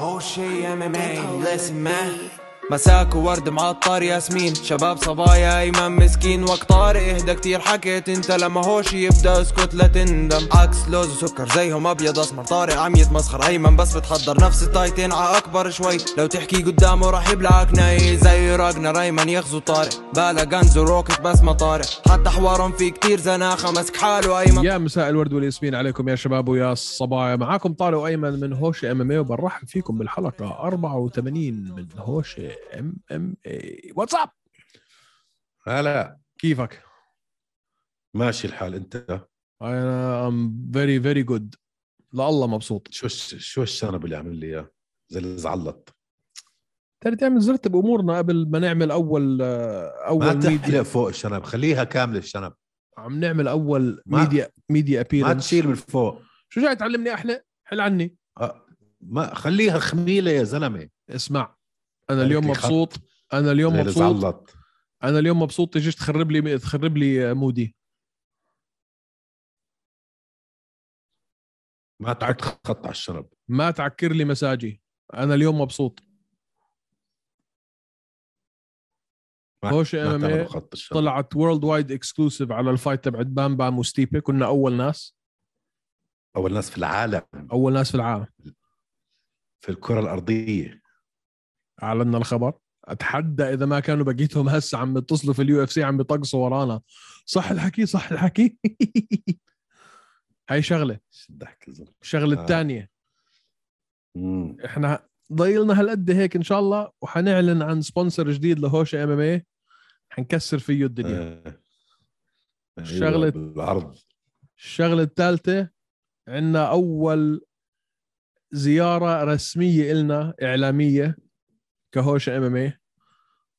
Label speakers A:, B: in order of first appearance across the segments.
A: Oh, شي ام ام اي listen man مساك وورد معطر ياسمين شباب صبايا ايمن مسكين وقت طارق اهدى كتير حكيت انت لما هوش يبدا اسكت لا تندم عكس لوز وسكر زيهم ابيض اسمر طارق عم يتمسخر ايمن بس بتحضر نفس التايتين ع اكبر شوي لو تحكي قدامه راح يبلعك ناي زي راجنا ريمان يغزو طارق بالا غنز وروكت بس ما طارق حتى حوارهم في كتير زناخه مسك حاله ايمن
B: يا مساء الورد والياسمين عليكم يا شباب ويا الصبايا معاكم طارق وايمن من هوش ام ام اي وبنرحب فيكم بالحلقه 84 من هوش ام ام اي واتساب
C: هلا
B: كيفك؟
C: ماشي الحال انت
B: انا ام فيري فيري جود لله مبسوط
C: شو الش- شو الشنب اللي عامل لي اياه زي اللي زعلط
B: ترى تعمل زرت بامورنا قبل ما نعمل آه، اول
C: ما
B: اول ميديا
C: تحلق فوق الشنب خليها كامله الشنب
B: عم نعمل اول
C: ما-
B: ميديا ميديا
C: ما
B: ابيرنس
C: تشيل من فوق
B: شو جاي تعلمني احلق؟ حل عني
C: آه، ما خليها خميله يا زلمه
B: اسمع انا
C: عليك
B: اليوم
C: لك
B: مبسوط انا اليوم
C: زي اللي
B: مبسوط
C: زعلط
B: انا اليوم مبسوط تجيش تخرب لي تخرب لي مودي
C: ما تعد خط على الشنب
B: ما تعكر لي مساجي انا اليوم مبسوط
C: ما-
B: هوش
C: ما
B: ام
C: تعمل
B: ام
C: خط الشنب طلع
B: طلعت وورلد وايد اكسكلوسيف على الفايت تبعت بام بام وستيبي كنا اول ناس
C: اول ناس في العالم
B: اول ناس في العالم
C: في الكره الارضيه
B: اعلنا الخبر اتحدى اذا ما كانوا بقيتهم هسه عم يتصلوا في اليو اف سي عم بيطقصوا ورانا صح الحكي صح الحكي هاي شغله
C: شو الضحك يا زلمه
B: الشغله
C: آه.
B: الثانيه
C: مم.
B: احنا ضايلنا هالقد هيك ان شاء الله وحنعلن عن سبونسر جديد لهوشه ام ام اي إيه. حنكسر فيه الدنيا
C: آه. أيوة،
B: الشغلة-
C: بالعرض
B: الشغله الثالثه عندنا اول زياره رسميه إلنا اعلاميه كهوشه ام ام اي إيه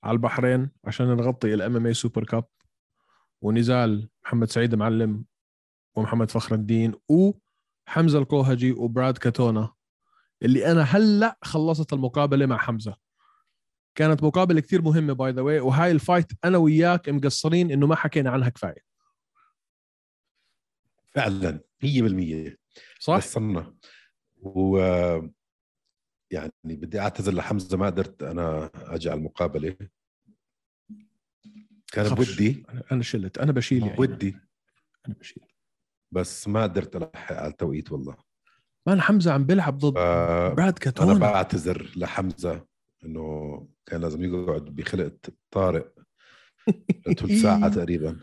B: على البحرين عشان نغطي الام ام اي إيه سوبر كاب ونزال محمد سعيد معلم ومحمد فخر الدين وحمزه الكوهجي وبراد كاتونا اللي انا هلا خلصت المقابله مع حمزه كانت مقابله كثير مهمه باي ذا واي وهاي الفايت انا وياك مقصرين انه ما حكينا عنها كفايه
C: فعلا 100%
B: صح
C: قصرنا و يعني بدي اعتذر لحمزه ما قدرت انا اجي على المقابله كان
B: خفش.
C: ودي
B: أنا- انا شلت انا
C: آه،
B: بشيل يعني
C: ودي
B: انا بشيل
C: بس ما قدرت الحق على التوقيت والله
B: مان حمزه عم بيلعب ضد
C: فانا
B: براد كاتونا
C: بعتذر لحمزه انه كان لازم يقعد بخلقه طارق ثلث ساعه تقريبا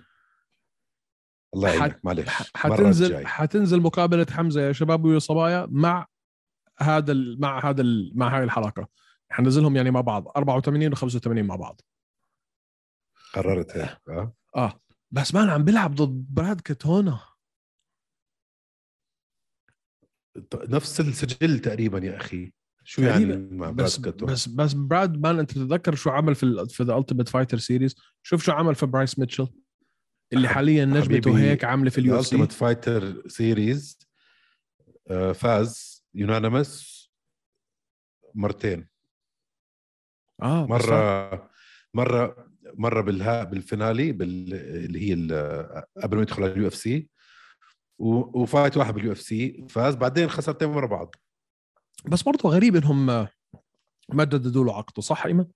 C: الله
B: حت-
C: يعينك معلش
B: ح-
C: المره
B: حتنزل
C: الجاي
B: حتنزل مقابله حمزه يا شباب ويا صبايا مع هذا ال- مع هذا ال- مع هاي الحلقه حنزلهم يعني مع بعض 84 و85 مع بعض
C: قررت هيك آه؟
B: اه بس مان عم بيلعب ضد براد كاتونا
C: ط- نفس السجل تقريبا يا اخي شو
B: تقريباً.
C: يعني مع
B: بس
C: براد كاتون؟
B: بس بس براد مان انت تتذكر شو عمل في ال في ذا التيمت فايتر سيريز شوف شو عمل في برايس ميتشل اللي
C: حب-
B: حاليا نجمته
C: حبيبي،
B: هيك عامله في اليو اف سي
C: الالتيميت فايتر سيريز آه، فاز يونانيمس مرتين
B: اه بس
C: مره مره مره بالها بالفينالي بال اللي هي ال- قبل ما يدخل على اليو اف سي وفايت واحد باليو اف سي فاز بعدين خسرتين ورا بعض
B: بس برضه غريب انهم ما جددوا له عقده صح ايمن؟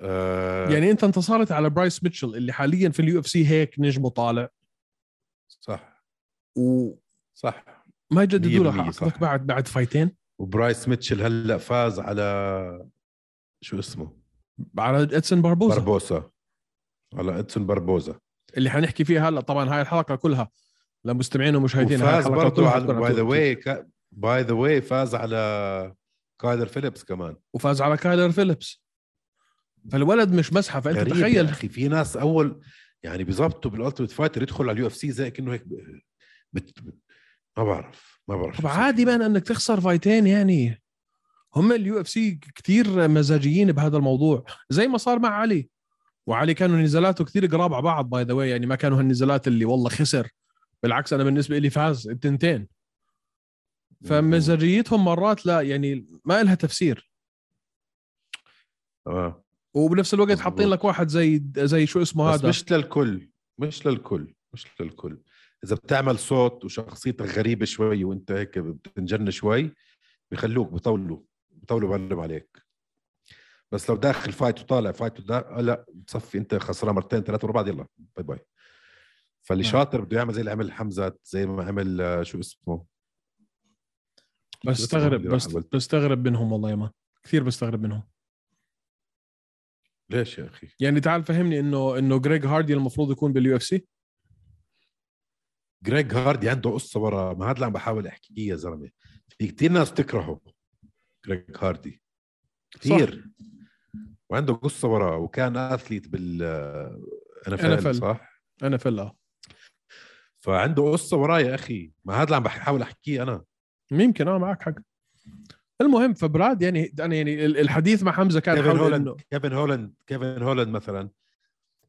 C: آه،
B: يعني انت انتصرت على برايس ميتشل اللي حاليا في اليو اف سي هيك نجمه طالع
C: صح
B: وما
C: صح
B: جددوا له
C: 100%
B: عقدك
C: صح.
B: بعد بعد فايتين
C: وبرايس ميتشل هلا فاز على شو اسمه
B: على ادسن باربوزا
C: باربوسا على ادسون باربوزا
B: اللي حنحكي فيها هلا طبعا هاي الحلقه كلها لمستمعين ومشاهدين هاي
C: وفاز
B: الحلقه
C: برضه
B: كلها
C: على
B: حتكون عن
C: باي ذا
B: تويتر.
C: واي باي ذا واي فاز على كايلر فيليبس كمان
B: وفاز على كايلر فيليبس فالولد مش مسحه فانت
C: غريب يعني.
B: تخيل
C: يا اخي في ناس اول يعني بيظبطوا بالالتيميت فايتر يدخل على اليو اف سي زي كانه هيك ب- بت... بت- ما بعرف ما بعرف
B: طب عادي بقى انك تخسر فايتين يعني هم اليو اف سي كثير مزاجيين بهذا الموضوع زي ما صار مع علي وعلي كانوا نزالاته كثير قراب على بعض باي ذا واي يعني ما كانوا هالنزالات اللي والله خسر بالعكس انا بالنسبه لي فاز التنتين فمزاجيتهم مرات لا يعني ما لها تفسير
C: آه.
B: وبنفس الوقت
C: مظبوط.
B: حاطين لك واحد زي زي شو اسمه
C: بس
B: هذا
C: آه، مش للكل مش للكل مش للكل اذا بتعمل صوت وشخصيتك غريبه شوي وانت هيك بتنجن شوي بخلوك بطولوا بطولوا بعلم عليك بس لو داخل فايت وطالع فايت ودا... آه، لا بتصفي انت خسران مرتين ثلاثه ورا بعض يلا باي باي فاللي
B: نعم.
C: شاطر بده يعمل زي اللي عمل حمزه زي ما عمل آه، شو اسمه
B: بستغرب
C: بدي أروح
B: بس
C: أقول.
B: بستغرب منهم والله يا مان كثير بستغرب منهم
C: ليش يا اخي
B: يعني تعال فهمني انه انه جريج هاردي المفروض يكون باليو اف سي
C: جريج هاردي عنده قصه ورا ما هذا اللي عم بحاول احكيه يا زلمه في كثير ناس تكرهه جريج هاردي كثير وعنده قصه ورا وكان اثليت بال
B: NFL.
C: NFL صح
B: انا فلا
C: فعنده قصه وراه يا اخي ما هذا اللي عم بحاول احكيه انا
B: يمكن اه معك حق المهم فبراد يعني انا يعني ال- الحديث مع حمزه كان
C: كيفن
B: حول
C: هولاند
B: انه
C: كيفن هولاند كيفن هولاند مثلا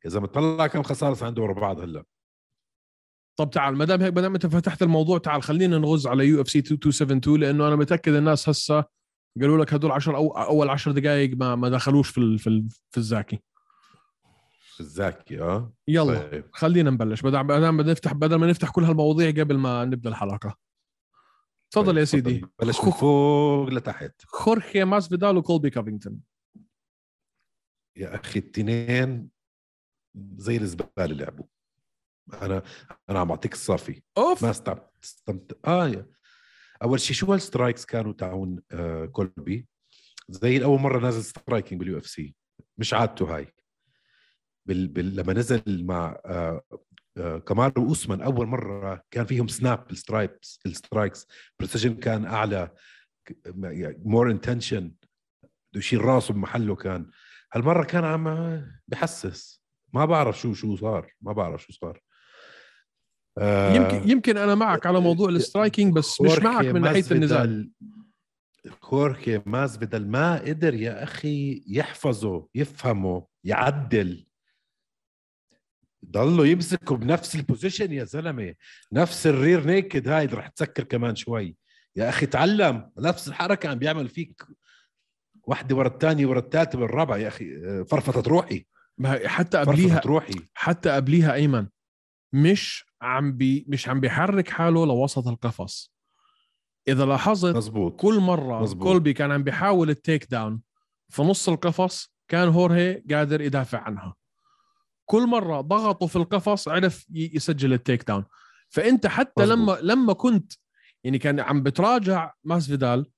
C: اذا مطلع كم خساره صار عنده ورا بعض هلا
B: طب تعال ما دام هيك ما دام انت فتحت الموضوع تعال خلينا نغز على يو اف سي 272 لانه انا متاكد الناس هسه قالوا لك هدول 10 أو اول 10 دقائق ما ما دخلوش في ال- في, ال- في الزاكي
C: الزاكي اه
B: يلا
C: طيب
B: خلينا نبلش بدل بدل ما نفتح بدل ما نفتح كل هالمواضيع قبل ما نبدا الحلقه تفضل
C: طيب،
B: يا سيدي
C: بلش من فوق لتحت
B: خورخي ماسفيدال وكولبي كافينغتون
C: يا اخي التنين زي الزباله لعبوا انا انا عم بعطيك الصافي
B: اوف
C: ما استمت استمت اه يا. اول شيء شو هالسترايكس كانوا تاعون آه كولبي زي اول مره نازل سترايكينج باليو اف سي مش عادته هاي بال... بال... لما نزل مع آه آه كمال واوسمان اول مره كان فيهم سناب السترايبس السترايكس بريسيجن كان اعلى مور انتنشن بده يشيل راسه بمحله كان هالمره كان عم آه، بحسس ما بعرف شو شو صار ما بعرف شو صار آه،
B: يمكن يمكن انا معك على موضوع السترايكينج بس مش
C: خورخي
B: معك من ناحيه
C: ماسفيدال-
B: النزال
C: خورخي ماسفيدال ما قدر يا اخي يحفظه يفهمه يعدل ضله يمسكه بنفس البوزيشن يا زلمه نفس الرير نيكد هاي رح تسكر كمان شوي يا اخي تعلم نفس الحركه عم بيعمل فيك واحده ورا الثانيه ورا الثالثه ورا الرابعه يا اخي آه، فرفطت روحي
B: ما- حتى قبليها
C: فرفطت روحي
B: حتى قبليها ايمن مش عم بي مش عم بيحرك حاله لوسط القفص اذا لاحظت
C: مزبوط
B: كل مره
C: مظبوط.
B: كولبي كان عم بيحاول التيك داون في نص القفص كان هورهي قادر يدافع عنها كل مره ضغطوا في القفص عرف ي- يسجل التيك داون فانت حتى
C: مظبوط.
B: لما لما كنت يعني كان عم بتراجع ماسفيدال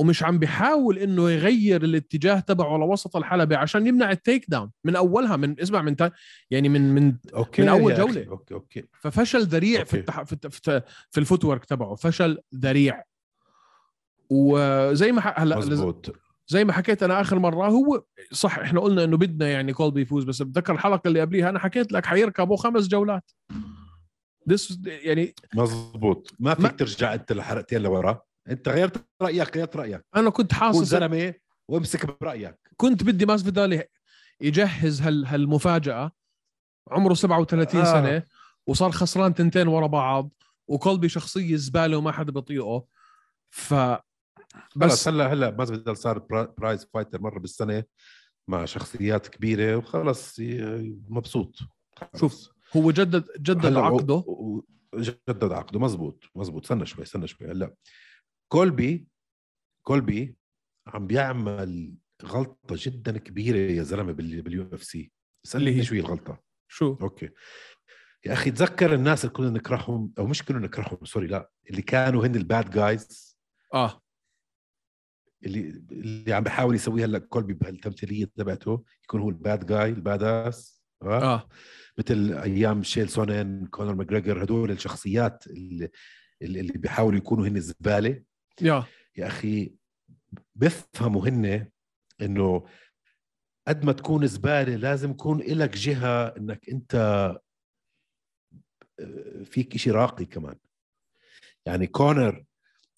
B: ومش عم بيحاول انه يغير الاتجاه تبعه لوسط الحلبه عشان يمنع التيك داون من اولها من اسمع من تا يعني من من
C: اوكي
B: من أول
C: يا
B: جولة.
C: أخي. اوكي اوكي
B: ففشل ذريع في
C: أوكي.
B: التح... في, الت... في, الت... في الفوت ورك تبعه فشل ذريع وزي ما ح... هلا
C: مزبوط
B: زي ما حكيت انا اخر مره هو صح احنا قلنا انه بدنا يعني كولبي يفوز بس بتذكر الحلقه اللي قبليها انا حكيت لك حيركبوا خمس جولات This- يعني
C: مزبوط ما
B: ما-
C: فيك ترجع انت لحلقتين لورا انت غيرت رايك غيرت رايك
B: انا كنت
C: كون
B: حاسس
C: زلمه وامسك برايك
B: كنت بدي ماسفيدال يجهز هال هالمفاجاه عمره 37 آه.
C: آه.
B: سنه وصار خسران تنتين ورا بعض وكولبي شخصيه زباله وما حدا بيطيقه ف
C: بس
B: بس
C: هلا هلا ما بدل صار برا- برايز فايتر مره بالسنه مع شخصيات كبيره وخلص ي- مبسوط خلص.
B: شوف، هو جدد جدد
C: هلا و-
B: عقده
C: و- جدد عقده مزبوط مزبوط استنى شوي استنى شوي هلا كولبي كولبي عم بيعمل غلطه جدا كبيره يا زلمه باليو اف سي
B: اللي هي؟
C: اسالني شو هي الغلطه
B: شو
C: اوكي يا اخي تذكر الناس اللي كنا نكرههم او مش كنا نكرههم سوري لا اللي كانوا هن الباد جايز
B: اه
C: اللي اللي عم بحاول يسويها هلا كولبي بهالتمثيليه تبعته يكون هو الباد جاي الباد اس آه.
B: اه
C: مثل ايام شيل سونن كونر ماجريجر هدول الشخصيات اللي اللي اللي بيحاولوا يكونوا هن زباله
B: يا
C: يا اخي بفهموا هن انه قد ما تكون زباله لازم يكون إلك جهه انك انت آه، فيك إشي راقي كمان يعني كونر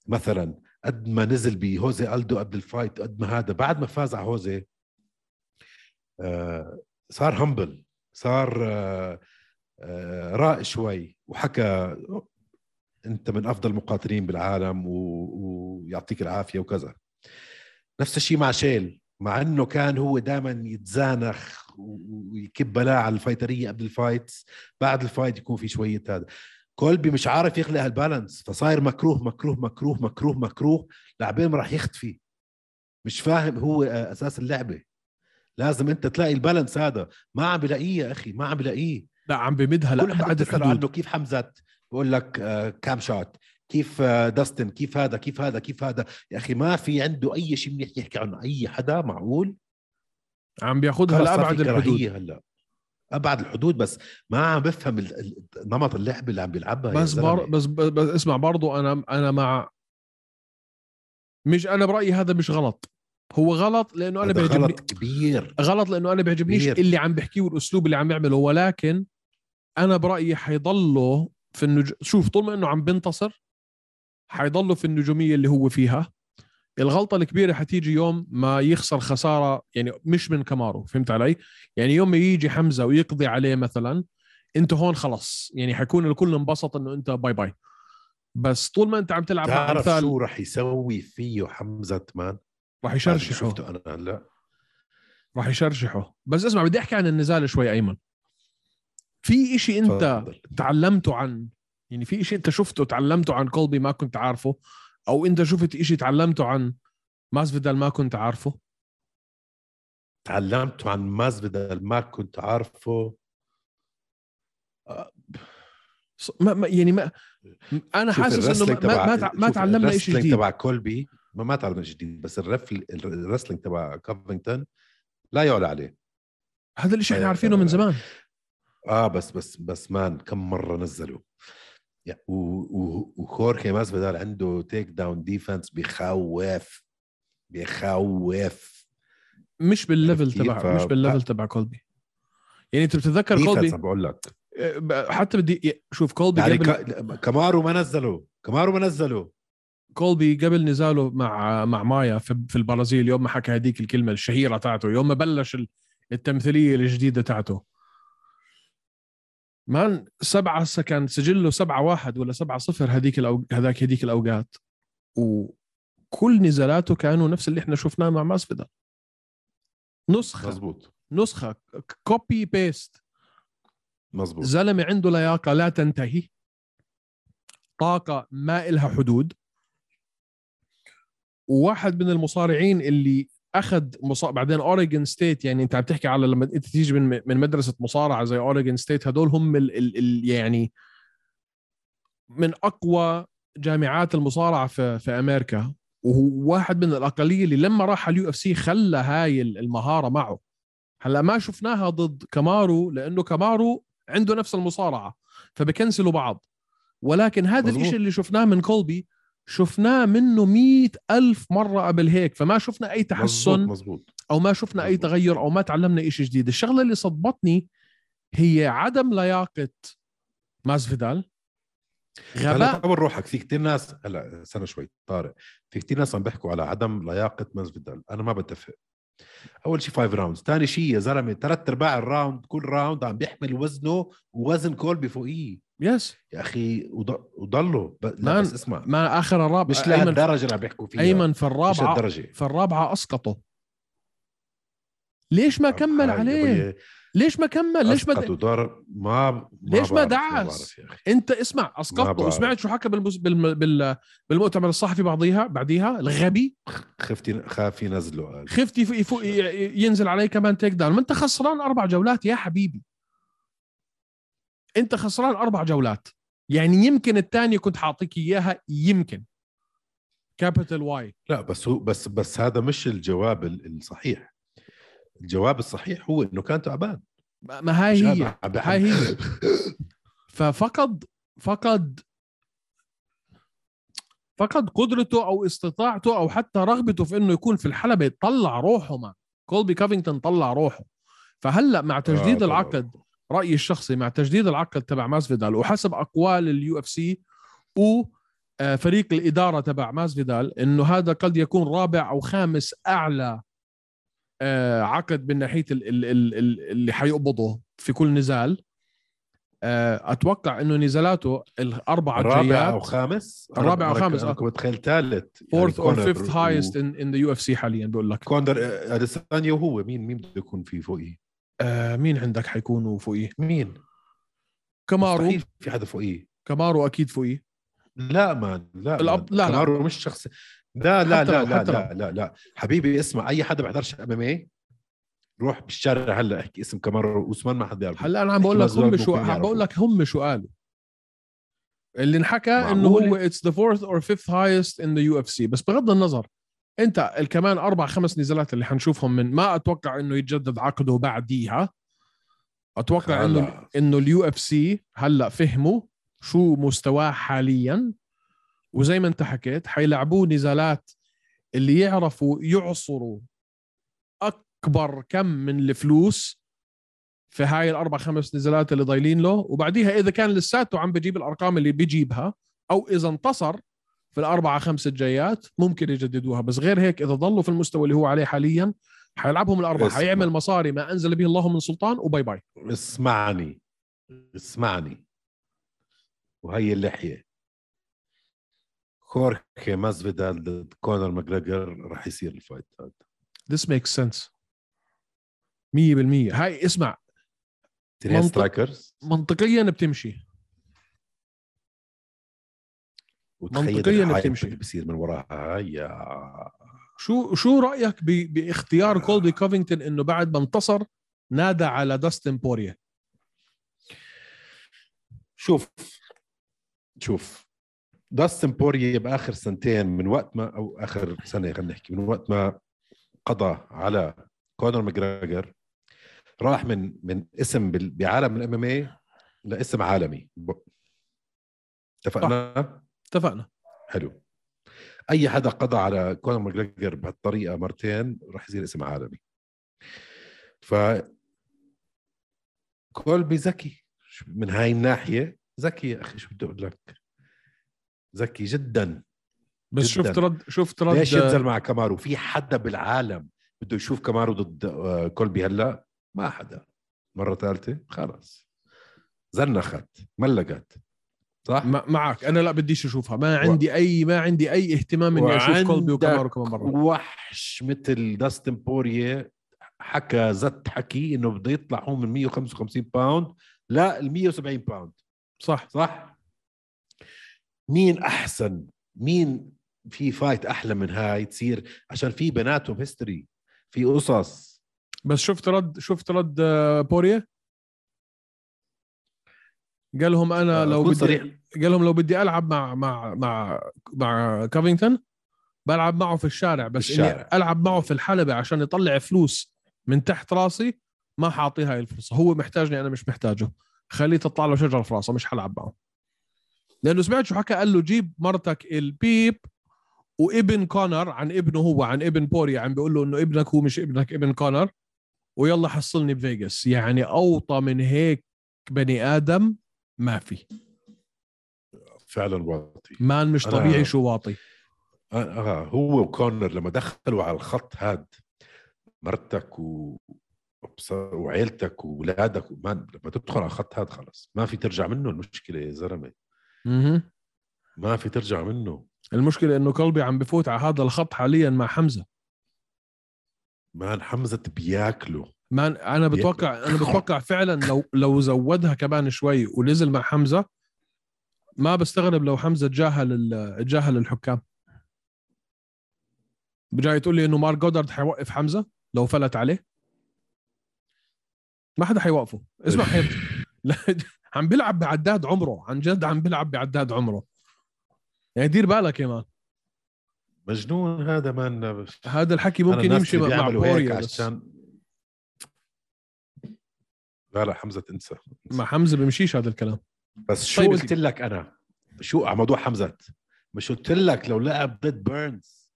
C: مثلا قد ما نزل بهوزي الدو قبل الفايت قد ما هذا بعد ما فاز على هوزي آه، صار همبل صار آه، آه، رائع شوي وحكى انت من افضل المقاتلين بالعالم و... ويعطيك العافيه وكذا نفس الشيء مع شيل مع انه كان هو دائما يتزانخ و- ويكب بلاء على الفايتريه قبل الفايت بعد الفايت يكون في شويه هذا كولبي مش عارف يخلق هالبالانس فصاير مكروه مكروه مكروه مكروه مكروه لاعبين راح يختفي مش فاهم هو آه، اساس اللعبه لازم انت تلاقي البالانس هذا ما عم بلاقيه يا اخي ما عم بلاقيه
B: لا عم بمدها
C: كل حدا
B: لابعد
C: بتسأل
B: الحدود
C: عنه كيف حمزه بقول لك آه، كام شوت كيف آه، داستن كيف هذا كيف هذا كيف هذا يا اخي ما في عنده اي شيء منيح يحكي عنه اي حدا معقول
B: عم بياخذها
C: خلص صار
B: لابعد
C: في
B: الحدود
C: كراهية هلا ابعد الحدود بس ما عم بفهم ال- ال- نمط اللعب اللي عم بيلعبها يا
B: بس بر...
C: طيب، زلمة.
B: بس بس اسمع برضو انا انا مع مش انا برايي هذا مش غلط هو غلط لانه انا
C: هذا
B: بيعجبني
C: غلط كبير
B: غلط لانه انا بيعجبنيش
C: كبير.
B: اللي عم بحكيه والاسلوب اللي عم يعمله ولكن انا برايي حيضله في النج... شوف طول ما انه عم بنتصر حيضله في النجوميه اللي هو فيها الغلطه الكبيره حتيجي يوم ما يخسر خساره يعني مش من كمارو فهمت علي يعني يوم ما يجي حمزه ويقضي عليه مثلا انت هون خلص يعني حيكون الكل انبسط انه انت باي باي بس طول ما انت عم تلعب مع
C: تعرف
B: امثال
C: شو رح يسوي فيه حمزه مان
B: راح
C: هذا اللي
B: يشرشحوا
C: شفته انا هلا
B: راح يشرشحوا بس اسمع بدي احكي عن النزال شوي ايمن في إشي انت
C: تفضل.
B: تعلمته عن يعني في إشي انت شفته تعلمته عن كولبي ما كنت عارفه او انت شفت إشي تعلمته عن ماسفيدال ما كنت عارفه
C: تعلمت عن ماز بدل ما كنت عارفه
B: ص- ما ما يعني ما م- انا
C: شوف
B: حاسس انه
C: الرسلينج
B: ما ما, ما,
C: تبع-
B: تع- ما
C: شوف
B: تعلمنا شيء
C: الرسلينج
B: جديد
C: تبع كولبي ما ما تعلمنا شيء جديد بس الرفل الرسلينج تبع كافينغتون لا يعلى عليه
B: هذا الإشي احنا
C: آه،
B: عارفينه من زمان
C: اه بس بس بس مان كم مره نزلوا يا- و- و- وخورخي ماسفيدال عنده تيك داون ديفنس بخوف بخوف
B: مش بالليفل
C: عرفت كيف؟ آه.
B: تبع مش
C: ف-
B: بالليفل تبع كولبي يعني انت بتتذكر كولبي
C: ديفنس عم بقول لك
B: آه، ب- حتى بدي شوف كولبي
C: يعني
B: قبل
C: ك... كمارو ما نزلوا كمارو ما نزلوا
B: كولبي قبل نزاله مع مع مايا في, في البرازيل يوم ما حكى هذيك الكلمه الشهيره تاعته يوم ما بلش ال- التمثيليه الجديده تاعته مان سبعة س- كان سجله سبعة واحد ولا سبعة صفر هذيك الأو... هذاك هذيك الأوقات وكل نزالاته كانوا نفس اللي احنا شفناه مع ماسفيدال نسخة
C: مزبوط
B: نسخة كوبي بيست
C: مزبوط
B: زلمة عنده لياقة لا تنتهي طاقة ما إلها حدود وواحد من المصارعين اللي اخذ مصا... بعدين اوريجن ستيت يعني انت عم تحكي على لما انت تيجي من من مدرسه مصارعه زي اوريجن ستيت هدول هم ال... ال... ال... يعني من اقوى جامعات المصارعه في في امريكا وهو واحد من الاقليه اللي لما راح على اليو اف سي خلى هاي المهاره معه هلا ما شفناها ضد كامارو لانه كامارو عنده نفس المصارعه فبكنسلوا بعض ولكن هذا
C: مظبوط.
B: الشيء اللي شفناه من كولبي شفناه منه مئة ألف مرة قبل هيك فما شفنا أي تحسن
C: مزبوط
B: أو ما شفنا أي
C: مظبوط.
B: تغير أو ما تعلمنا شيء جديد الشغلة اللي صدمتني هي عدم لياقة مازفيدال
C: هلا
B: غباء
C: طول روحك في كثير ناس هلا استنى شوي طارق في كثير ناس عم بيحكوا على عدم لياقه مازفيدال انا ما بتفق اول شيء 5 راوندز ثاني شيء يا زلمه ثلاث ارباع الراوند كل راوند عم بيحمل وزنه ووزن كولبي فوقيه
B: يس
C: يا اخي وض- وضله ب... لا
B: مان،
C: بس اسمع
B: ما آخر الرابعة
C: مش
B: أيمن,
C: لهالدرجه اللي عم بيحكوا فيها
B: أيمن في
C: مش
B: الرابعة
C: لهالدرجه
B: في الرابعة أسقطه ليش ما كمل
C: هاي
B: عليه؟
C: أبويا،
B: ليش ما كمل؟ ليش ما
C: أسقط وضرب ما ما
B: ليش ما
C: بعرف،
B: دعس؟
C: بعرف يا أخي.
B: انت اسمع
C: ما
B: اسقطته
C: بعرف.
B: وسمعت شو حكى بالمس... بال... بال... بالمؤتمر الصحفي بعضيها بعديها الغبي
C: خفت خاف ينزله قال
B: خفت يفوق يفوق ينزل علي كمان تيك داون ما انت خسران اربع جولات يا حبيبي انت خسران اربع جولات يعني يمكن الثانيه كنت حاعطيك اياها يمكن كابيتال واي
C: لا بس هو بس بس هذا مش الجواب ال- الصحيح الجواب الصحيح هو انه كان تعبان
B: ما هاي
C: مش آه،
B: هي
C: قادر- عم بحب-
B: هاي هي ففقد فقد فقد قدرته او استطاعته او حتى رغبته في انه يكون في الحلبه طلع روحه ما كولبي كافينغتون طلع روحه فهلا مع تجديد
C: آه، طبعاً.
B: العقد رايي الشخصي مع تجديد العقد تبع ماسفيدال وحسب اقوال اليو اف سي وفريق الاداره آه، تبع ماسفيدال انه هذا قد يكون رابع او خامس اعلى آه، عقد من ناحيه ال- ال- ال- ال- اللي حيقبضه في كل نزال آه، اتوقع انه نزالاته الاربعه
C: رابع او
B: الجايات
C: خامس
B: الرابع أو خامس، آه.
C: كنت متخيل ثالث يعني
B: فورث اور فيفث هايست ان ذا يو اف سي حاليا بقول لك
C: كوندر اديسانيا وهو مين مين بده يكون في فوقيه؟
B: آه، مين عندك حيكونوا فوقيه
C: مين؟
B: كمارو
C: مستحيل في حدا فوقيه
B: كامارو اكيد فوقيه
C: لا مان لا
B: الأب- لا، لا.
C: كامارو مش شخص لا لا
B: حتى
C: لا
B: لو-
C: لا
B: حتى لو.
C: لا لا لا حبيبي اسمع اي حدا بيحضرش ام ام اي روح بالشارع هلا احكي اسم كامارو اوسمان ما حد يعرفه
B: هلا انا عم بقول لك
C: احتمال
B: هم
C: زوال
B: شو
C: ممكن
B: عم بقول
C: يعرفوه.
B: لك هم شو قالوا اللي انحكى انه
C: معقولة؟
B: هو اتس ذا فورث اور فيفث هايست ان ذا يو اف سي بس بغض النظر انت الكمان اربع خمس نزالات اللي حنشوفهم من ما اتوقع انه يتجدد عقده بعديها اتوقع انه
C: هلا.
B: انه اليو اف سي هلا فهموا شو مستواه حاليا وزي ما انت حكيت حيلعبوه نزالات اللي يعرفوا يعصروا اكبر كم من الفلوس في هاي الاربع خمس نزالات اللي ضايلين له وبعديها اذا كان لساته عم بجيب الارقام اللي بيجيبها او اذا انتصر في الاربعه خمسه الجايات ممكن يجددوها بس غير هيك اذا ضلوا في المستوى اللي هو عليه حاليا حيلعبهم الاربعه
C: اسمع.
B: حيعمل مصاري ما انزل به الله من سلطان وباي باي
C: اسمعني اسمعني وهي اللحيه خورخي مازفيدال ضد كونر ماجريجر رح يصير الفايت هذا
B: This makes sense 100% هاي اسمع
C: اثنين
B: منطق-
C: سترايكرز
B: منطقيا بتمشي
C: وتخيل
B: منطقياً
C: الحايب
B: بتمشي.
C: اللي بصير من وراها يا
B: شو شو رايك ب... باختيار
C: آه.
B: كولبي كوفينغتون انه بعد ما انتصر نادى على داستن بوريا
C: شوف شوف داستن بوريه باخر سنتين من وقت ما او اخر سنه خلينا نحكي من وقت ما قضى على كونر ماجراجر راح من من اسم بال- بعالم الام ام اي لاسم عالمي ب- اتفقنا؟
B: اتفقنا
C: حلو اي حدا قضى على كونر ماجريجر بهالطريقه مرتين راح يصير اسم عالمي ف كولبي ذكي شو- من هاي الناحيه ذكي يا اخي شو بدي اقول لك ذكي جدا
B: بس
C: جداً.
B: شفت رد شفت رد
C: ليش ينزل مع كامارو في حدا بالعالم بده يشوف كامارو ضد آه، كولبي هلا ما حدا مره ثالثه خلص زنخت ملقت صح
B: م- معك انا لا بديش اشوفها ما عندي اي ما عندي اي اهتمام اني اشوف كولبي وكامارو كمان مره
C: وحش مثل داستن بوريه حكى زت حكي انه بده يطلع هو من 155 باوند لا ال 170 باوند
B: صح
C: صح مين احسن مين في فايت احلى من هاي تصير عشان في بناتهم هيستوري في قصص
B: بس شفت رد شفت رد آه، بوريا قال لهم انا لو
C: آه، أكون
B: بدي
C: صريح
B: قال لهم لو بدي العب مع مع مع مع كافينغتون بلعب معه في الشارع بس
C: بالشارع.
B: اني العب معه في الحلبه عشان يطلع فلوس من تحت راسي ما حاعطيه هاي الفرصه هو محتاجني انا مش محتاجه خليه تطلع له شجره في راسه مش حلعب معه لانه سمعت شو حكى قال له جيب مرتك البيب وابن كونر عن ابنه هو عن ابن بوريا عم بيقول له انه ابنك هو مش ابنك ابن كونر ويلا حصلني بفيغاس يعني اوطى من هيك بني ادم ما في
C: فعلا واطي
B: مان مش
C: أنا-
B: طبيعي شو واطي
C: آه، آه هو وكونر لما دخلوا على الخط هاد مرتك و وبص- وعيلتك واولادك وما لما تدخل على الخط هاد خلص ما في ترجع منه المشكله يا زلمه
B: مهم.
C: ما في ترجع منه
B: المشكلة انه قلبي عم بفوت على هذا الخط حاليا مع حمزة
C: مان حمزه بياكله
B: ما انا بتوقع انا بتوقع فعلا لو لو زودها كمان شوي ونزل مع حمزة ما بستغرب لو حمزة تجاهل ال- تجاهل الحكام جاي تقول لي انه مارك جودارد حيوقف حمزة لو فلت عليه ما حدا حيوقفه اسمع حيب لا، عم بيلعب بعداد عمره عن جد عم بيلعب بعداد عمره يعني دير بالك يا مان
C: مجنون هذا مان أنا
B: هذا الحكي ممكن
C: الناس
B: يمشي
C: اللي
B: مع مع
C: بيعملوا هيك
B: بوريا بس
C: عشان لا لا حمزه انسى
B: مع حمزه بيمشيش هذا الكلام
C: بس شو
B: طيب
C: قلت لك انا شو على موضوع حمزه مش قلت لك لو لعب ضد بيرنز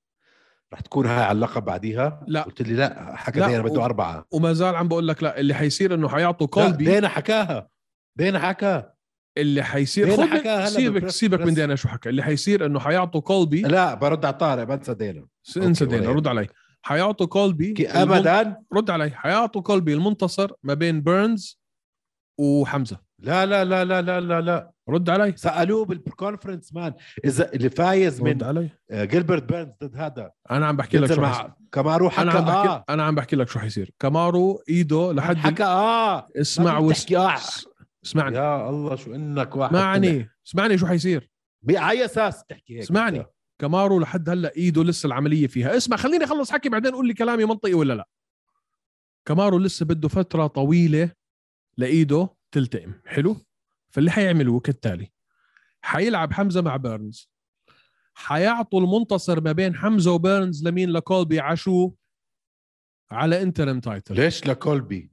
C: رح تكون هاي على اللقب بعديها
B: لا.
C: قلت لي لا حكى
B: لا،
C: دينا
B: و-
C: بده اربعه
B: وما زال عم بقول لك لا اللي حيصير انه حيعطوا
C: لا،
B: كولبي
C: دينا حكاها دينا حكاها
B: اللي حيصير
C: دينا
B: خذ
C: حكاها
B: من-
C: هلا
B: سيبك
C: بالبرس-
B: سيبك من
C: برس.
B: دينا شو حكى اللي حيصير انه حيعطوا كولبي
C: لا برد على طارق بنسى دينا
B: س- انسى
C: أوكي،
B: دينا
C: ولا
B: رد علي حيعطوا كولبي
C: كي-
B: المن-
C: ابدا
B: رد علي حيعطوا كولبي المنتصر ما بين بيرنز وحمزه
C: لا لا لا لا لا لا لا
B: رد علي
C: سالوه بالكونفرنس مان اذا اللي فايز
B: رد
C: من
B: علي
C: آه، جيلبرت بيرنز ضد هذا
B: انا عم بحكي لك
C: ينزل
B: شو
C: مع
B: مع...
C: كامارو
B: انا
C: حكى
B: عم بحكي
C: اه
B: انا عم بحكي لك شو حيصير كامارو ايده لحد
C: حكى اه
B: اسمع
C: ما
B: وس...
C: بتحكي آه.
B: اسمعني
C: يا الله شو انك واحد طلع.
B: اسمعني اسمعني شو حيصير
C: باي اساس تحكي هيك
B: اسمعني.
C: أنت؟
B: كامارو لحد هلا ايده لسه العمليه فيها اسمع خليني اخلص حكي بعدين قول لي كلامي منطقي ولا لا كامارو لسه بده فتره طويله لايده تلتئم حلو فاللي حيعملوه كالتالي حيلعب حمزه مع بيرنز حيعطوا المنتصر ما بين حمزه وبيرنز لمين لكولبي عشو على انترم تايتل
C: ليش لكولبي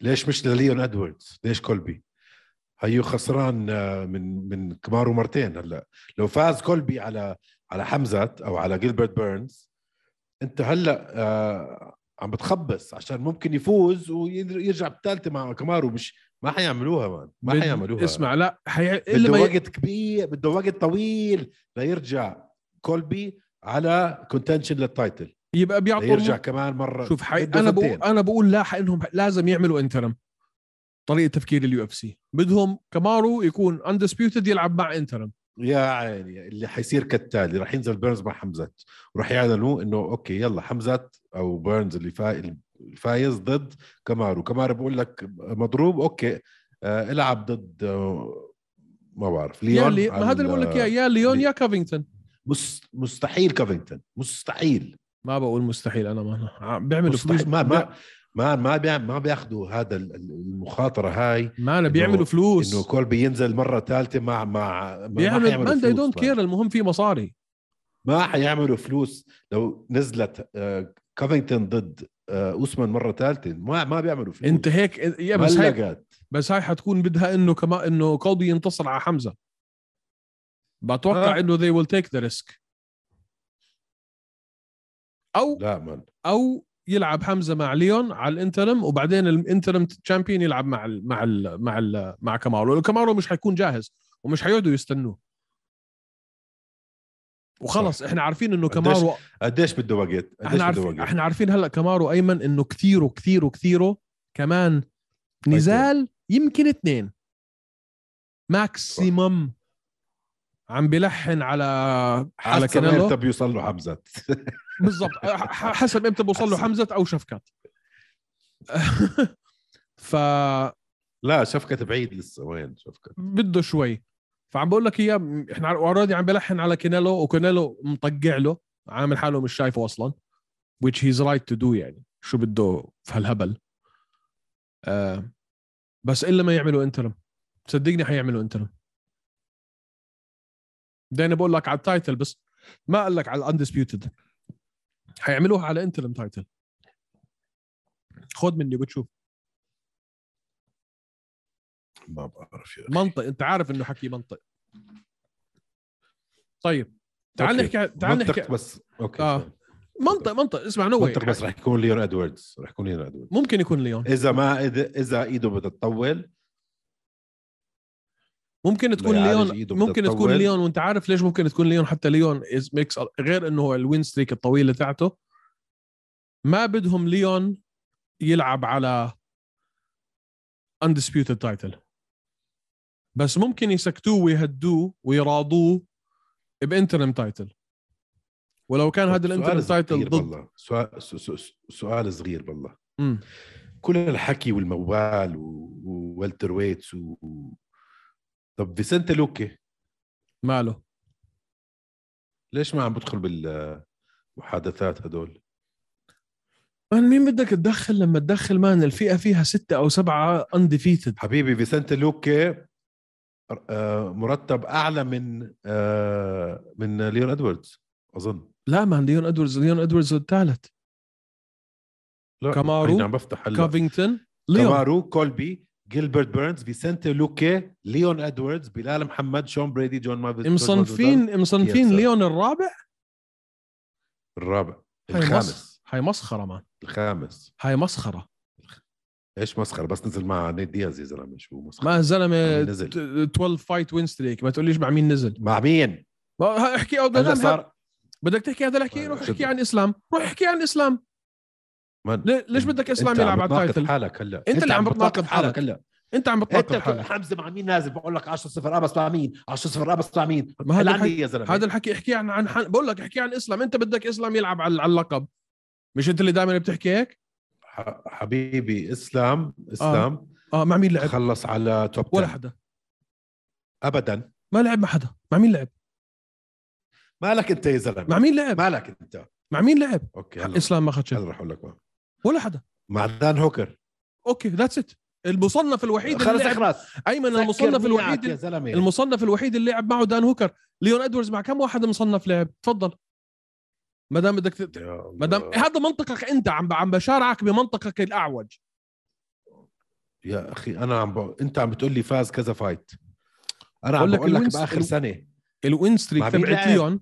C: ليش مش لليون ادواردز ليش كولبي هيو خسران آه، من من كمارو مرتين هلا لو فاز كولبي على على حمزه او على جيلبرت بيرنز انت هلا آه، عم بتخبص عشان ممكن يفوز ويرجع بالثالثه مع كمارو مش ما حيعملوها مان ما
B: بد-
C: حيعملوها
B: اسمع لا حي...
C: بده
B: الا إيه ما ي...
C: وقت كبير بده وقت طويل ليرجع كولبي على كونتنشن للتايتل
B: يبقى بيعطوا
C: ليرجع
B: الم...
C: كمان مره
B: شوف حي...
C: بده
B: انا بقول
C: فنتين.
B: انا بقول لا انهم لازم يعملوا انترم طريقه تفكير اليو اف سي بدهم كمارو يكون اندسبيوتد يلعب مع انترم
C: يا عيني اللي حيصير كالتالي راح ينزل بيرنز مع حمزه وراح يعلنوا انه اوكي يلا حمزه او بيرنز اللي فا... الفايز ضد كمارو كمارو بقول لك مضروب اوكي آه العب ضد آه ما بعرف
B: يا
C: ليون
B: لي... يعني ما هذا اللي بقول لك يا يا ليون يا كافينغتون
C: مس... مستحيل كافينغتون مستحيل
B: ما بقول مستحيل انا ما ع- بيعملوا فلوس
C: مستحيل ما ما ما ما, بيع... ما بياخذوا هذا ال- المخاطره هاي
B: ما أنا بيعملوا فلوس
C: انه كولبي ينزل مره ثالثه مع مع ما- ما
B: بيعملوا
C: حيعملوا
B: مان they
C: فلوس
B: don't
C: بعد.
B: care المهم في مصاري
C: ما حيعملوا فلوس لو نزلت كافينغتون ضد آه، اوسمان مره ثالثه ما ما بيعملوا فلوس
B: انت هيك يا بس هاي
C: بلغت
B: بس هاي حتكون بدها انه كما انه كولبي ينتصر على حمزه بتوقع
C: آه.
B: انه they will take the risk او
C: لا من
B: او يلعب حمزه مع ليون على الانترم وبعدين الانترم تشامبيون يلعب مع ال مع ال مع ال مع كامارو لأنه كامارو مش حيكون جاهز ومش حيقعدوا يستنوه وخلص احنا عارفين انه
C: قديش-
B: كامارو
C: قديش بده وقت قديش
B: احنا
C: بده
B: عارفين
C: وقت
B: احنا عارفين هلا كامارو ايمن انه كثيره كثيره كثيره كمان
C: طيب.
B: نزال يمكن اثنين ماكسيمم عم بلحن على على
C: حسب امتى
B: كانيلو
C: بيوصل له حمزه
B: بالضبط أه، ح- حسب امتى بوصل له
C: حسب.
B: حمزه او شفكات ف
C: لا شفكة بعيد لسه وين شفكة
B: بده شوي فعم بقول لك اياه احنا اوريدي عم بلحن على كينيلو وكينيلو مطقع له عامل حاله مش شايفه اصلا which he's right to do يعني شو بده في هالهبل آه بس الا ما يعملوا انترم صدقني حيعملوا انترم دايما بقول لك على التايتل بس ما قال لك على الاندسبيوتد حيعملوها على انترم تايتل خد مني وبتشوف
C: ما بعرف يا أخي.
B: منطق انت عارف انه حكي منطق طيب تعال
C: أوكي.
B: نحكي تعال
C: منطق
B: نحكي
C: بس اوكي
B: آه.
C: آه.
B: منطق منطق اسمع نوي
C: منطق بس رح يكون ليون ادواردز رح يكون ليون ادواردز
B: ممكن يكون ليون
C: اذا ما إذا- اذا ايده بدها تطول
B: ممكن تكون
C: لا يعالج
B: ليون
C: إيده بدها
B: ممكن تكون
C: تطول.
B: ليون وانت عارف ليش ممكن تكون ليون حتى ليون از ميكس غير انه هو الوين ستريك الطويله تاعته ما بدهم ليون يلعب على اندسبيوتد تايتل بس ممكن يسكتوه ويهدوه ويراضوه بانترم تايتل ولو كان هذا
C: سؤال
B: الانترم
C: صغير
B: تايتل ضد
C: بالله. سؤال سو- سو- سؤال صغير بالله
B: مم.
C: كل الحكي والموال و- ووالتر ويتس و... طب فيسنت لوكي
B: ماله
C: ليش ما عم بدخل بالمحادثات هدول؟
B: مان مين بدك تدخل لما تدخل مان الفئه فيها ستة او سبعة انديفيتد
C: حبيبي فيسنت لوكي آه، مرتب اعلى من آه، من ليون ادواردز اظن
B: لا مان ليون ادوردز ليون ادوردز الثالث
C: لا
B: كامارو،
C: هيني عم بفتح هلا
B: كافينغتون ليون
C: كامارو كولبي جيلبرت بيرنز فيسنت لوكي ليون ادواردز بلال محمد شون بريدي جون مافيز جون مافيز-
B: مصنفين مصنفين
C: كيف صار؟
B: ليون الرابع
C: الرابع
B: هاي
C: الخامس
B: هاي مسخره مان
C: الخامس
B: هاي مسخره
C: ايش مسخره بس نزل مع نيد دياز يا زلمه شو مسخره
B: ما الزلمه
C: مين نزل؟
B: ت- 12 فايت وين ستريك ما تقوليش مع مين نزل
C: مع مين؟
B: ما- ها- احكي او
C: هلا
B: بدنا نحب-
C: صار
B: بدك تحكي هذا الحكي
C: ما-
B: روح
C: شد.
B: احكي عن اسلام روح احكي عن اسلام
C: من-
B: لي- ليش بدك اسلام
C: أنت عم
B: يلعب على
C: بتناقض
B: التايتل
C: حالك هلا
B: أنت اللي عم بتناقض حالك.
C: هلا
B: انت عم
C: انت
B: بتناقض
C: بتقول
B: حالك
C: حمزه مع مين نازل بقول لك 10 0 اه بس مع مين 10 0 اه بس مع مين
B: ما هذا
C: العني
B: الحكي
C: يا زلمه
B: هذا الحكي احكي عن عن حن... بقول لك احكي عن اسلام انت بدك اسلام يلعب على على اللقب مش انت اللي دائما بتحكي هيك
C: ح- حبيبي اسلام اسلام
B: اه مع مين لعب
C: خلص على توب
B: ولا
C: 10.
B: حدا
C: ابدا
B: ما لعب مع حدا مع مين لعب
C: مالك انت يا زلمه
B: مع مين لعب
C: مالك انت
B: مع مين لعب
C: اوكي هلا
B: اسلام ما اخذ شيء
C: هلا رح اقول لك وين.
B: ولا حدا
C: مع دان هوكر
B: اوكي ذاتس ات المصنف الوحيد اللي
C: خلص
B: لعب
C: اخلص
B: ايمن
C: سكر
B: المصنف
C: ميعك
B: الوحيد
C: يا زلمه
B: المصنف الوحيد اللي لعب معه دان هوكر ليون ادواردز مع كم واحد مصنف لعب تفضل ما دام بدك تت-
C: يا الله.
B: ما دام هذا منطقك انت عم عم بشارعك بمنطقك الاعوج
C: يا اخي انا عم بقول انت عم بتقول لي فاز كذا فايت انا
B: بقول
C: عم
B: لك
C: بقول لك
B: الوينز-
C: باخر
B: ال-
C: سنه
B: الوين
C: مع
B: ستريك
C: مين
B: تبعت
C: لعب؟
B: ليون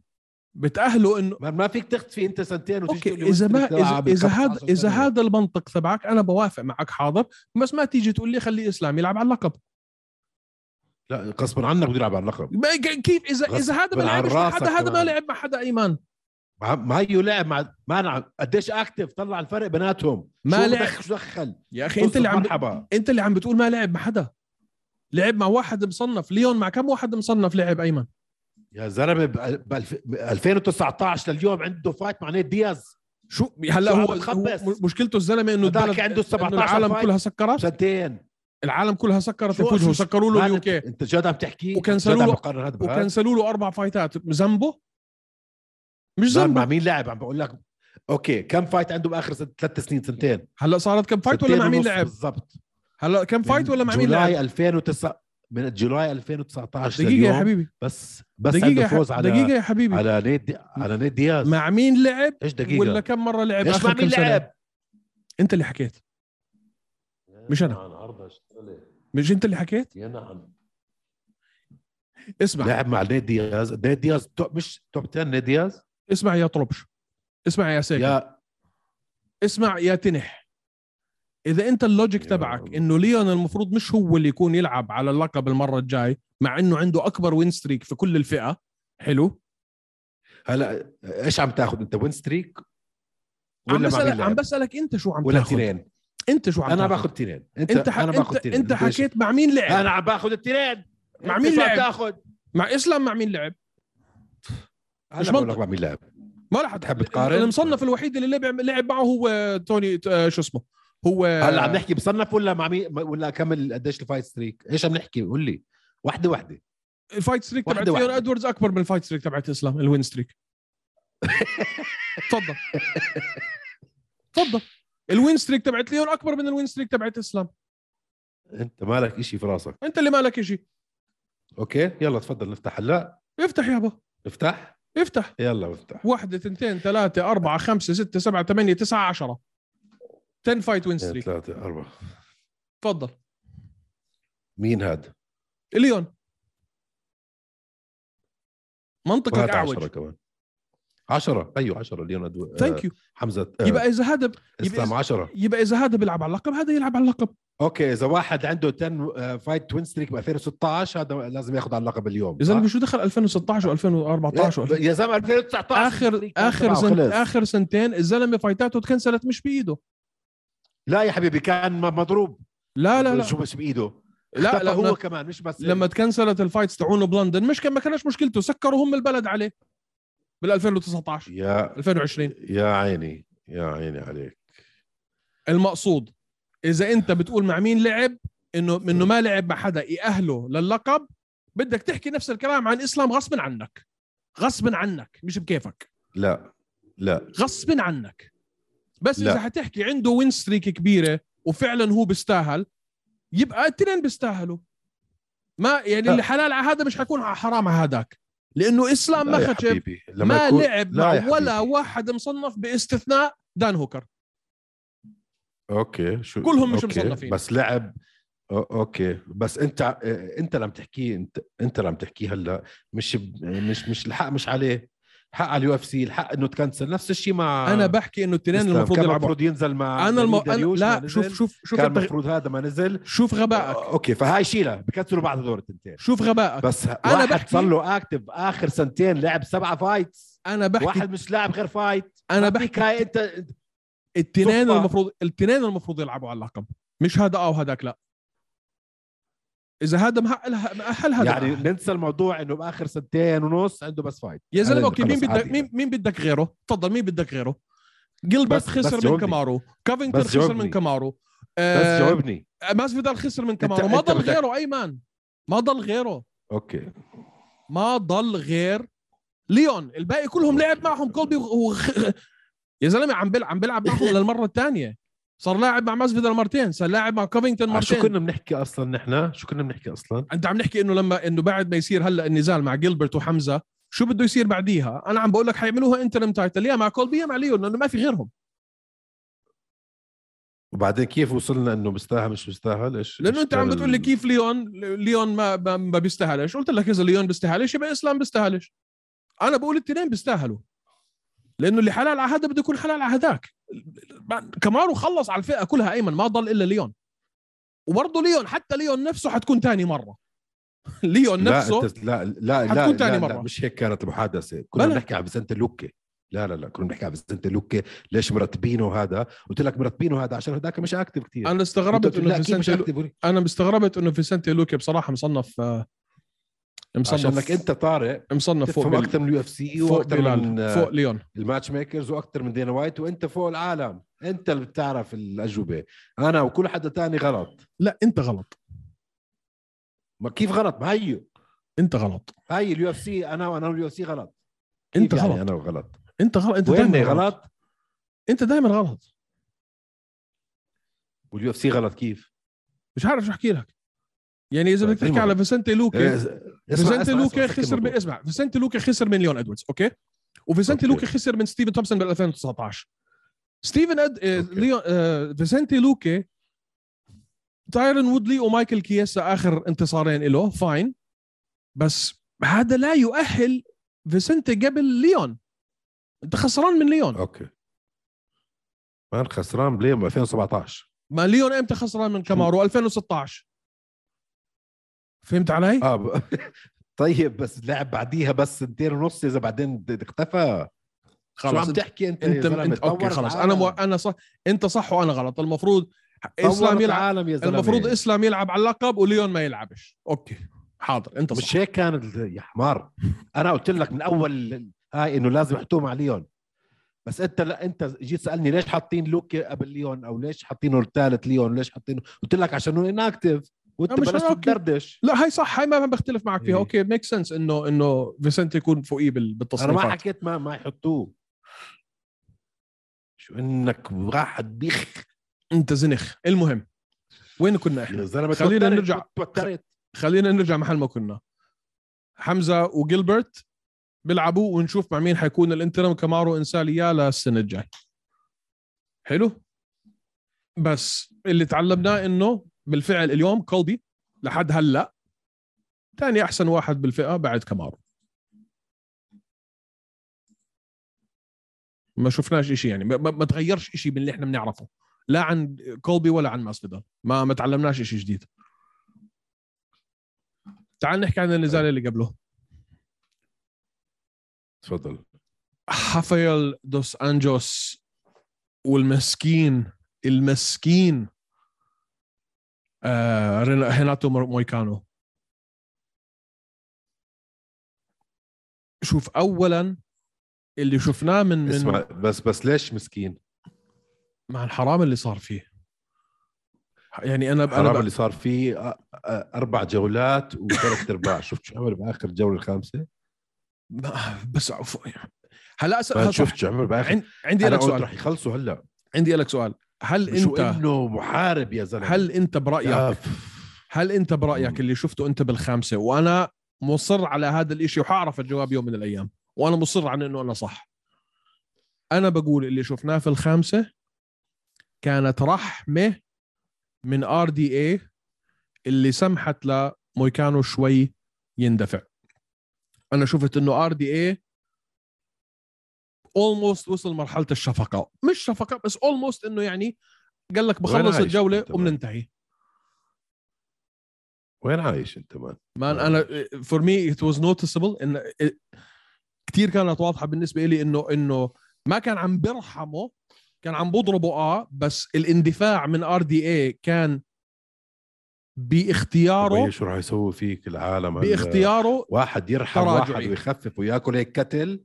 B: بتاهله انه
C: ما, ما فيك تختفي انت سنتين وتجي
B: اوكي
C: تقول لي
B: اذا
C: وينستون
B: ما اذا,
C: بيلعب
B: إذا
C: بكم
B: هذا
C: 15
B: اذا
C: سنة.
B: هذا المنطق تبعك انا بوافق معك حاضر بس ما تيجي تقول لي خلي اسلام يلعب على اللقب
C: لا غصبا عنك بده يلعب على اللقب
B: ما- ك- كيف اذا اذا هذا ما
C: غصباً عن
B: لعبش مع
C: راسك
B: حدا هذا ما
C: كمان.
B: لعب مع حدا ايمن
C: مع- ما هيو لعب مع ما انا عم- قديش اكتف طلع الفرق بيناتهم
B: ما
C: شو
B: لعب.
C: دخل شو دخل
B: يا اخي انت اللي عم
C: مرحبا
B: انت اللي عم بتقول ما لعب مع حدا لعب مع واحد مصنف ليون مع كم واحد مصنف لعب ايمن
C: يا زلمه ب- ب 2019 لليوم عنده فايت مع نيد دياز
B: شو هلا
C: شو عم
B: هو,
C: بتخبص؟
B: هو مشكلته الزلمه انه
C: هداك
B: البلد-
C: عنده
B: إنه
C: 17
B: العالم
C: فايت.
B: كلها سكرت
C: سنتين
B: العالم كلها سكرت
C: شو-
B: في وجهه
C: شو-
B: سكروا له
C: ما
B: اليوكي
C: انت جد عم تحكي
B: وكنسلوا
C: جد عم
B: له-
C: بقارن هذا بهذا؟
B: وكنسلوا له اربع فايتات ذنبه مش
C: زلمه مع
B: ذنبه
C: مين لاعب عم بقول لك اوكي كم فايت عنده باخر ثلاث سنين سنتين
B: هلا صارت كم فايت ولا
C: سنتين
B: مع مين
C: ونص
B: لعب
C: بالضبط
B: هلا كم فايت
C: من
B: ولا مع مين لعب
C: جولاي 2009 من جولاي 2019
B: دقيقه يا
C: لليوم
B: حبيبي
C: بس بس
B: دقيقه
C: عنده
B: يا
C: فوز
B: حبيبي
C: على
B: دقيقه يا حبيبي
C: على نيد على نيد دياز
B: مع مين لعب
C: ايش دقيقه
B: ولا كم مره لعب
C: ايش مع
B: اخر
C: مين
B: كم سنه
C: لعب
B: انت اللي حكيت مش أنا.
C: عن عرضها اشتغلت.
B: مش انت اللي حكيت
C: يا نعم.
B: اسمع
C: لعب مع نيد دياز نيد دياز توب مش توب 10 نيد دياز
B: اسمع يا طربش اسمع يا ساكن
C: يا
B: اسمع يا تنح اذا انت اللوجيك
C: يا
B: تبعك
C: الله.
B: انه ليون المفروض مش هو اللي يكون يلعب على اللقب المره الجاي مع انه عنده اكبر وين ستريك في كل الفئه حلو
C: هلا ايش عم تاخذ انت وين ستريك
B: عم
C: ولا مع مين
B: بسألك, عم
C: لعب؟
B: بسالك انت شو عم
C: ولا
B: تاخذ
C: تنين
B: انت شو عم
C: انا
B: تاخذ؟
C: باخذ تنين انت
B: انت ح...
C: انا باخذ
B: انت,
C: تنين
B: انت
C: إيش؟
B: حكيت مع مين لعب
C: انا عم باخذ التنين
B: مع إيه. مين
C: أنت شو عم
B: لعب؟
C: تاخذ
B: مع اسلام مع مين لعب مش
C: مش منطق
B: منطق.
C: مع مين لعب
B: ما راح
C: تحب تقارن؟
B: المصنف الوحيد اللي لعب لعب معه هو توني آه، شو اسمه هو
C: هلا عم نحكي بصنف ولا مع مين ولا كمل قديش الفايت ستريك ايش عم نحكي قول لي وحده وحده
B: الفايت ستريك
C: واحدة
B: تبعت ليون
C: واحدة.
B: ادوردز اكبر من الفايت ستريك تبعت اسلام الوين ستريك تفضل تفضل الوين ستريك تبعت ليون اكبر من الوين ستريك تبعت اسلام
C: انت مالك إشي في راسك
B: انت اللي مالك شيء
C: اوكي يلا تفضل نفتح هلا
B: افتح يابا
C: افتح
B: افتح
C: يلا افتح
B: واحدة اثنتين ثلاثة أربعة خمسة ستة سبعة ثمانية تسعة عشرة 10 فايت وين
C: اثنين،
B: ستريك
C: ثلاثة أربعة
B: تفضل
C: مين هاد؟
B: ليون منطقك
C: وهاد عشرة
B: أعوج
C: كمان عشرة أيوة عشرة ليون أدو...
B: ثانك يو
C: حمزة آه،
B: يبقى إذا هذا
C: إسلام
B: يبقى-
C: عشرة
B: يبقى إذا هذا بيلعب على اللقب هذا يلعب على اللقب
C: أوكي إذا واحد عنده آه، 10 فايت توين ستريك ب 2016 هذا لازم ياخذ على اللقب اليوم
B: يا زلمه
C: صح؟
B: شو دخل 2016 و2014 و2015
C: يا زلمة 2019
B: اخر
C: ستريك
B: اخر
C: تبعه
B: سنت
C: خلص.
B: اخر سنتين الزلمه فايتاته تكنسلت مش بايده
C: لا يا حبيبي كان م- مضروب
B: لا لا لا
C: شو مش بايده
B: لا
C: اختفى
B: لا
C: هو
B: هو
C: كمان مش بس
B: لما تكنسلت الفايتس تاعونه بلندن مش كان ما كانش مشكلته سكروا هم البلد عليه بال 2019
C: يا
B: 2020
C: يا عيني يا عيني عليك
B: المقصود اذا انت بتقول مع مين لعب انه انه ما لعب مع حدا يأهله للقب بدك تحكي نفس الكلام عن اسلام غصب عنك غصب عنك مش بكيفك
C: لا لا
B: غصب عنك بس
C: لا.
B: اذا حتحكي عنده وين ستريك كبيره وفعلا هو بيستاهل يبقى التنين بيستاهلوا ما يعني
C: لا.
B: اللي حلال على هذا مش حيكون على حرام على هذاك لانه اسلام
C: لا
B: ما
C: يا
B: خشب
C: حبيبي لما
B: ما
C: يكون-
B: لعب
C: لا يا
B: مع
C: حبيبي.
B: ولا واحد مصنف باستثناء دان هوكر
C: اوكي شو
B: كلهم مش
C: أوكي.
B: مصنفين.
C: بس لعب أو- اوكي بس انت آه، انت اللي عم تحكيه انت انت اللي عم تحكيه هلا مش ب- مش مش الحق مش عليه حق على اليو اف سي الحق انه تكنسل نفس الشيء مع
B: انا بحكي انه التنين
C: آه. إسلام.
B: المفروض
C: كان
B: يلعبوا
C: المفروض ينزل مع
B: انا, الم...
C: دليل
B: أنا...
C: داريوش ما
B: لا
C: نزل.
B: شوف شوف شوف
C: كان
B: أنت-
C: المفروض هذا ما نزل
B: شوف غبائك
C: اوكي فهاي شيلها بكنسلوا بعض هذول التنتين
B: شوف غبائك
C: بس
B: أنا
C: انا واحد
B: بحكي-
C: صار له اكتف اخر سنتين لعب سبعه فايتس
B: انا بحكي
C: واحد مش لاعب غير فايت
B: انا
C: ما فيك
B: بحكي
C: هاي انت انت-
B: التنين
C: صفة.
B: المفروض التنين المفروض يلعبوا على اللقب مش هذا اه وهذاك لا اذا هذا مهقل مأهل هذا
C: يعني
B: يعني
C: ننسى الموضوع انه باخر سنتين ونص عنده بس فايت
B: يا زلمه
C: أنا
B: اوكي مين
C: خلص
B: بدك
C: عادي.
B: مين, مين بدك غيره تفضل مين بدك غيره جيلبرت
C: بس-
B: خسر
C: بس
B: من
C: جاوبني.
B: كمارو كافينجتون
C: بس
B: خسر
C: جاوبني.
B: من كمارو
C: بس
B: آه
C: جاوبني
B: ماسفيدال خسر من
C: أنت-
B: كامارو ما
C: أنت
B: ضل
C: بدك-
B: غيره ايمن ما ضل غيره
C: اوكي
B: ما ضل غير ليون الباقي كلهم لعب معهم كولبي و... و- يا زلمه عم بيلعب عم بيلعب معهم للمره الثانيه صار لاعب مع ماسفيدال مرتين صار لاعب مع كوفينغتون
C: على شو
B: مرتين
C: كنا بنحكي اصلا نحن شو كنا بنحكي اصلا
B: انت عم نحكي انه لما انه بعد ما يصير هلا النزال مع جيلبرت وحمزه شو بده يصير بعديها انا عم بقول لك حيعملوها انترم تايتل يا مع كولبي يا مع ليون لانه ما في غيرهم
C: وبعدين كيف وصلنا انه بيستاهل مش بيستاهل ايش
B: لانه انت عم
C: إيش
B: بتقول لي كيف ليون ليون ما ما, ما بيستاهلش قلت لك اذا ليون بيستاهلش يبقى اسلام بيستاهلش انا بقول الاثنين بيستاهلوا لانه اللي حلال على هذا بده يكون حلال على هذاك كمارو خلص على الفئه كلها ايمن ما ضل الا ليون وبرضه ليون حتى ليون نفسه حتكون تاني مره ليون
C: لا
B: نفسه
C: أنت لا لا لا,
B: حتكون
C: لا,
B: تاني
C: لا
B: مرة.
C: مش هيك كانت المحادثه كنا
B: بلا.
C: بنحكي على بسنت لوكي لا لا لا كنا بنحكي على بسنت لوكي ليش مرتبينه هذا قلت لك مرتبينه هذا عشان هذاك مش اكتف كثير
B: انا استغربت انه
C: مش
B: فيسنتي
C: اكتف
B: انا استغربت انه فيسنتي لوكي بصراحه مصنف آه،
C: عشان
B: مصنف
C: انك انت طارق
B: مصنف فوق
C: تفهم
B: بال-
C: اكثر من اليو اف سي
B: فوق
C: واكثر من
B: بلال
C: آه،
B: فوق ليون
C: الماتش ميكرز واكثر من دينا وايت وانت فوق العالم انت اللي بتعرف الاجوبه انا وكل حدا تاني غلط
B: لا انت غلط
C: ما كيف غلط ما هيو
B: انت غلط
C: هاي اليو اف سي انا وانا واليو اف سي غلط كيف
B: انت
C: يعني
B: غلط
C: انا غلط
B: انت غلط انت
C: وين
B: دايما غلط
C: غلط
B: انت دايما غلط
C: واليو اف سي غلط كيف
B: مش عارف شو احكي لك يعني اذا
C: طيب،
B: بدك تحكي
C: المهم.
B: على فيسنتي
C: إيه،
B: لوكي فيسنتي لوكي خسر من
C: باسم
B: اسمع فيسنتي لوكي خسر من ليون ادواردز اوكي وفيسنتي
C: أوكي.
B: لوكي خسر من ستيفن تومسون بال 2019 ستيفن أد... آه،
C: أوكي.
B: ليون آه، فيسنتي لوكي تايرن وودلي ومايكل كياسا اخر انتصارين له فاين بس هذا لا يؤهل فيسنتي قبل ليون انت خسران من ليون
C: اوكي مان خسران بليم 2017
B: ما ليون امتى خسران من كامارو 2016 فهمت علي؟
C: اه ب... طيب بس لعب بعديها بس سنتين ونص اذا بعدين د- اختفى شو عم
B: انت
C: تحكي انت
B: انت, انت اوكي خلص انا مو... انا صح انت صح وانا غلط المفروض اسلام يلعب
C: العالم يا زلمه
B: المفروض اسلام يلعب على اللقب وليون ما يلعبش اوكي حاضر انت صح
C: مش هيك كان ال- يا حمار انا قلت لك من اول ال- هاي انه لازم يحطوهم على ليون بس انت لا انت جيت سالني ليش حاطين لوكي قبل ليون او ليش حاطينه الثالث ليون ليش حاطينه قلت لك عشان هو اناكتف وانت
B: لا، مش
C: بلشت
B: inactive.
C: تدردش
B: لا هاي صح هاي ما بختلف معك فيها
C: إيه.
B: اوكي ميك سنس انه انه فيسنت يكون فوقيه بال-
C: انا ما
B: بالتصنيفات
C: حكيت ما ما يحطوه شو انك واحد بيخ
B: انت زنخ المهم وين كنا احنا
C: يا زلمه
B: خلينا
C: توترت،
B: نرجع.
C: توترت
B: خلينا نرجع محل ما كنا حمزه وجيلبرت بيلعبوا ونشوف مع مين حيكون الانترم كمارو انسى لي اياه للسنه الجاي حلو بس اللي تعلمناه انه بالفعل اليوم كولبي لحد هلا ثاني احسن واحد بالفئه بعد كمارو ما شفناش إشي يعني ما, ما ما تغيرش إشي من اللي احنا بنعرفه لا عن كولبي ولا عن ماسفيدال ما ما تعلمناش إشي جديد تعال نحكي عن النزال
C: طيب.
B: اللي قبله
C: تفضل
B: حافيل دوس انجوس والمسكين المسكين آه رينا- هيناتو مر- مويكانو شوف اولا اللي شفناه من
C: اسمع
B: من
C: بس بس ليش مسكين
B: مع الحرام اللي صار فيه يعني انا انا
C: الحرام
B: ب-
C: اللي صار فيه أ- أ- اربع جولات وثلاث ارباع شفت شو عمل باخر الجوله الخامسه
B: ما- بس عفو- هلا أس-
C: ما
B: هلا
C: شفت شو عمل باخر
B: عن- عندي
C: انا
B: لك
C: قلت
B: سؤال
C: رح يخلصوا هلا
B: عندي لك سؤال هل
C: شو
B: انت
C: انه محارب يا زلمه
B: هل انت برايك
C: يا ف-
B: هل انت برايك
C: مم.
B: اللي شفته انت بالخامسه وانا مصر على هذا الاشي وحاعرف الجواب يوم من الايام وانا مصر على انه انا صح انا بقول اللي شفناه في الخامسه كانت رحمه من ار دي اي اللي سمحت لمويكانو شوي يندفع انا شفت انه ار دي اي اولموست وصل مرحله الشفقه مش شفقه بس اولموست انه يعني قال لك
C: وين
B: بخلص
C: عايش
B: الجوله
C: أنت بقى؟
B: وبننتهي
C: وين عايش انت مان
B: مان انا فور مي ات واز نوتسبل ان كثير كانت واضحه بالنسبه لي انه انه ما كان عم برحمه كان عم بضربه اه بس الاندفاع من ار دي اي كان باختياره
C: وبيي شو رح يسوي فيك العالم هلا؟
B: باختياره
C: واحد يرحم
B: تراجعي.
C: واحد ويخفف وياكل هيك كتل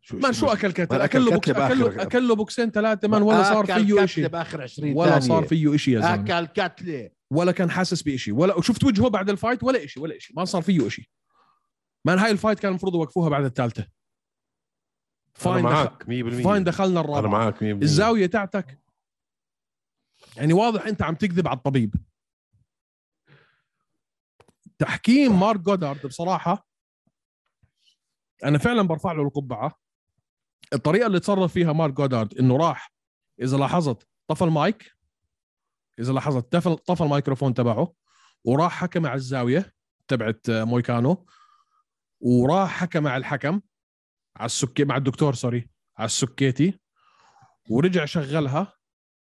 C: شو
B: مان شو اكل كتل
C: مان أكل
B: اكله بوكس
C: كتلة بآخر
B: اكله
C: غرفة.
B: اكله بوكسين ثلاثه مان ولا صار فيه شيء
C: باخر 20
B: ولا صار فيه شيء يا زلمه
C: اكل كتله
B: ولا كان حاسس بشيء ولا شفت وجهه بعد الفايت ولا شيء ولا شيء ما صار فيه شيء مان هاي الفايت كان المفروض يوقفوها بعد الثالثه
C: انا
B: فاين دخل
C: معك 100%
B: فاين دخلنا الرابعه
C: انا معك 100%
B: الزاويه تاعتك يعني واضح انت عم تكذب على الطبيب تحكيم مارك جودارد بصراحه انا فعلا برفع له القبعه الطريقه اللي تصرف فيها مارك جودارد انه راح اذا لاحظت طفى المايك اذا لاحظت طفى طفى الميكروفون تبعه وراح حكى مع الزاويه تبعت مويكانو وراح حكى مع الحكم على السكي مع الدكتور سوري على السكيتي ورجع شغلها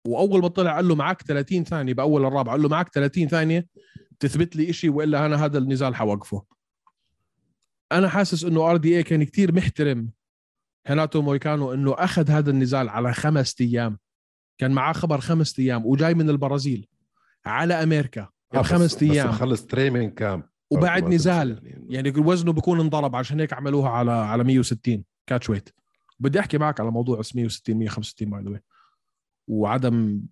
B: واول ما طلع قال له معك 30 ثانيه باول الرابعه قال له معك 30 ثانيه تثبت لي شيء والا انا هذا النزال حوقفه انا حاسس انه ار دي اي كان كتير محترم هيناتو مويكانو انه اخذ هذا النزال على خمس ايام كان معاه خبر خمس ايام وجاي من البرازيل على امريكا
C: آه، بس-
B: خمس ايام
C: بس خلص تريمين كامب
B: وبعد نزال
C: يعني
B: يعني وزنه بيكون انضرب عشان هيك عملوها على على 160 كاتش ويت بدي احكي معك على موضوع اس 160 165 باي ذا وعدم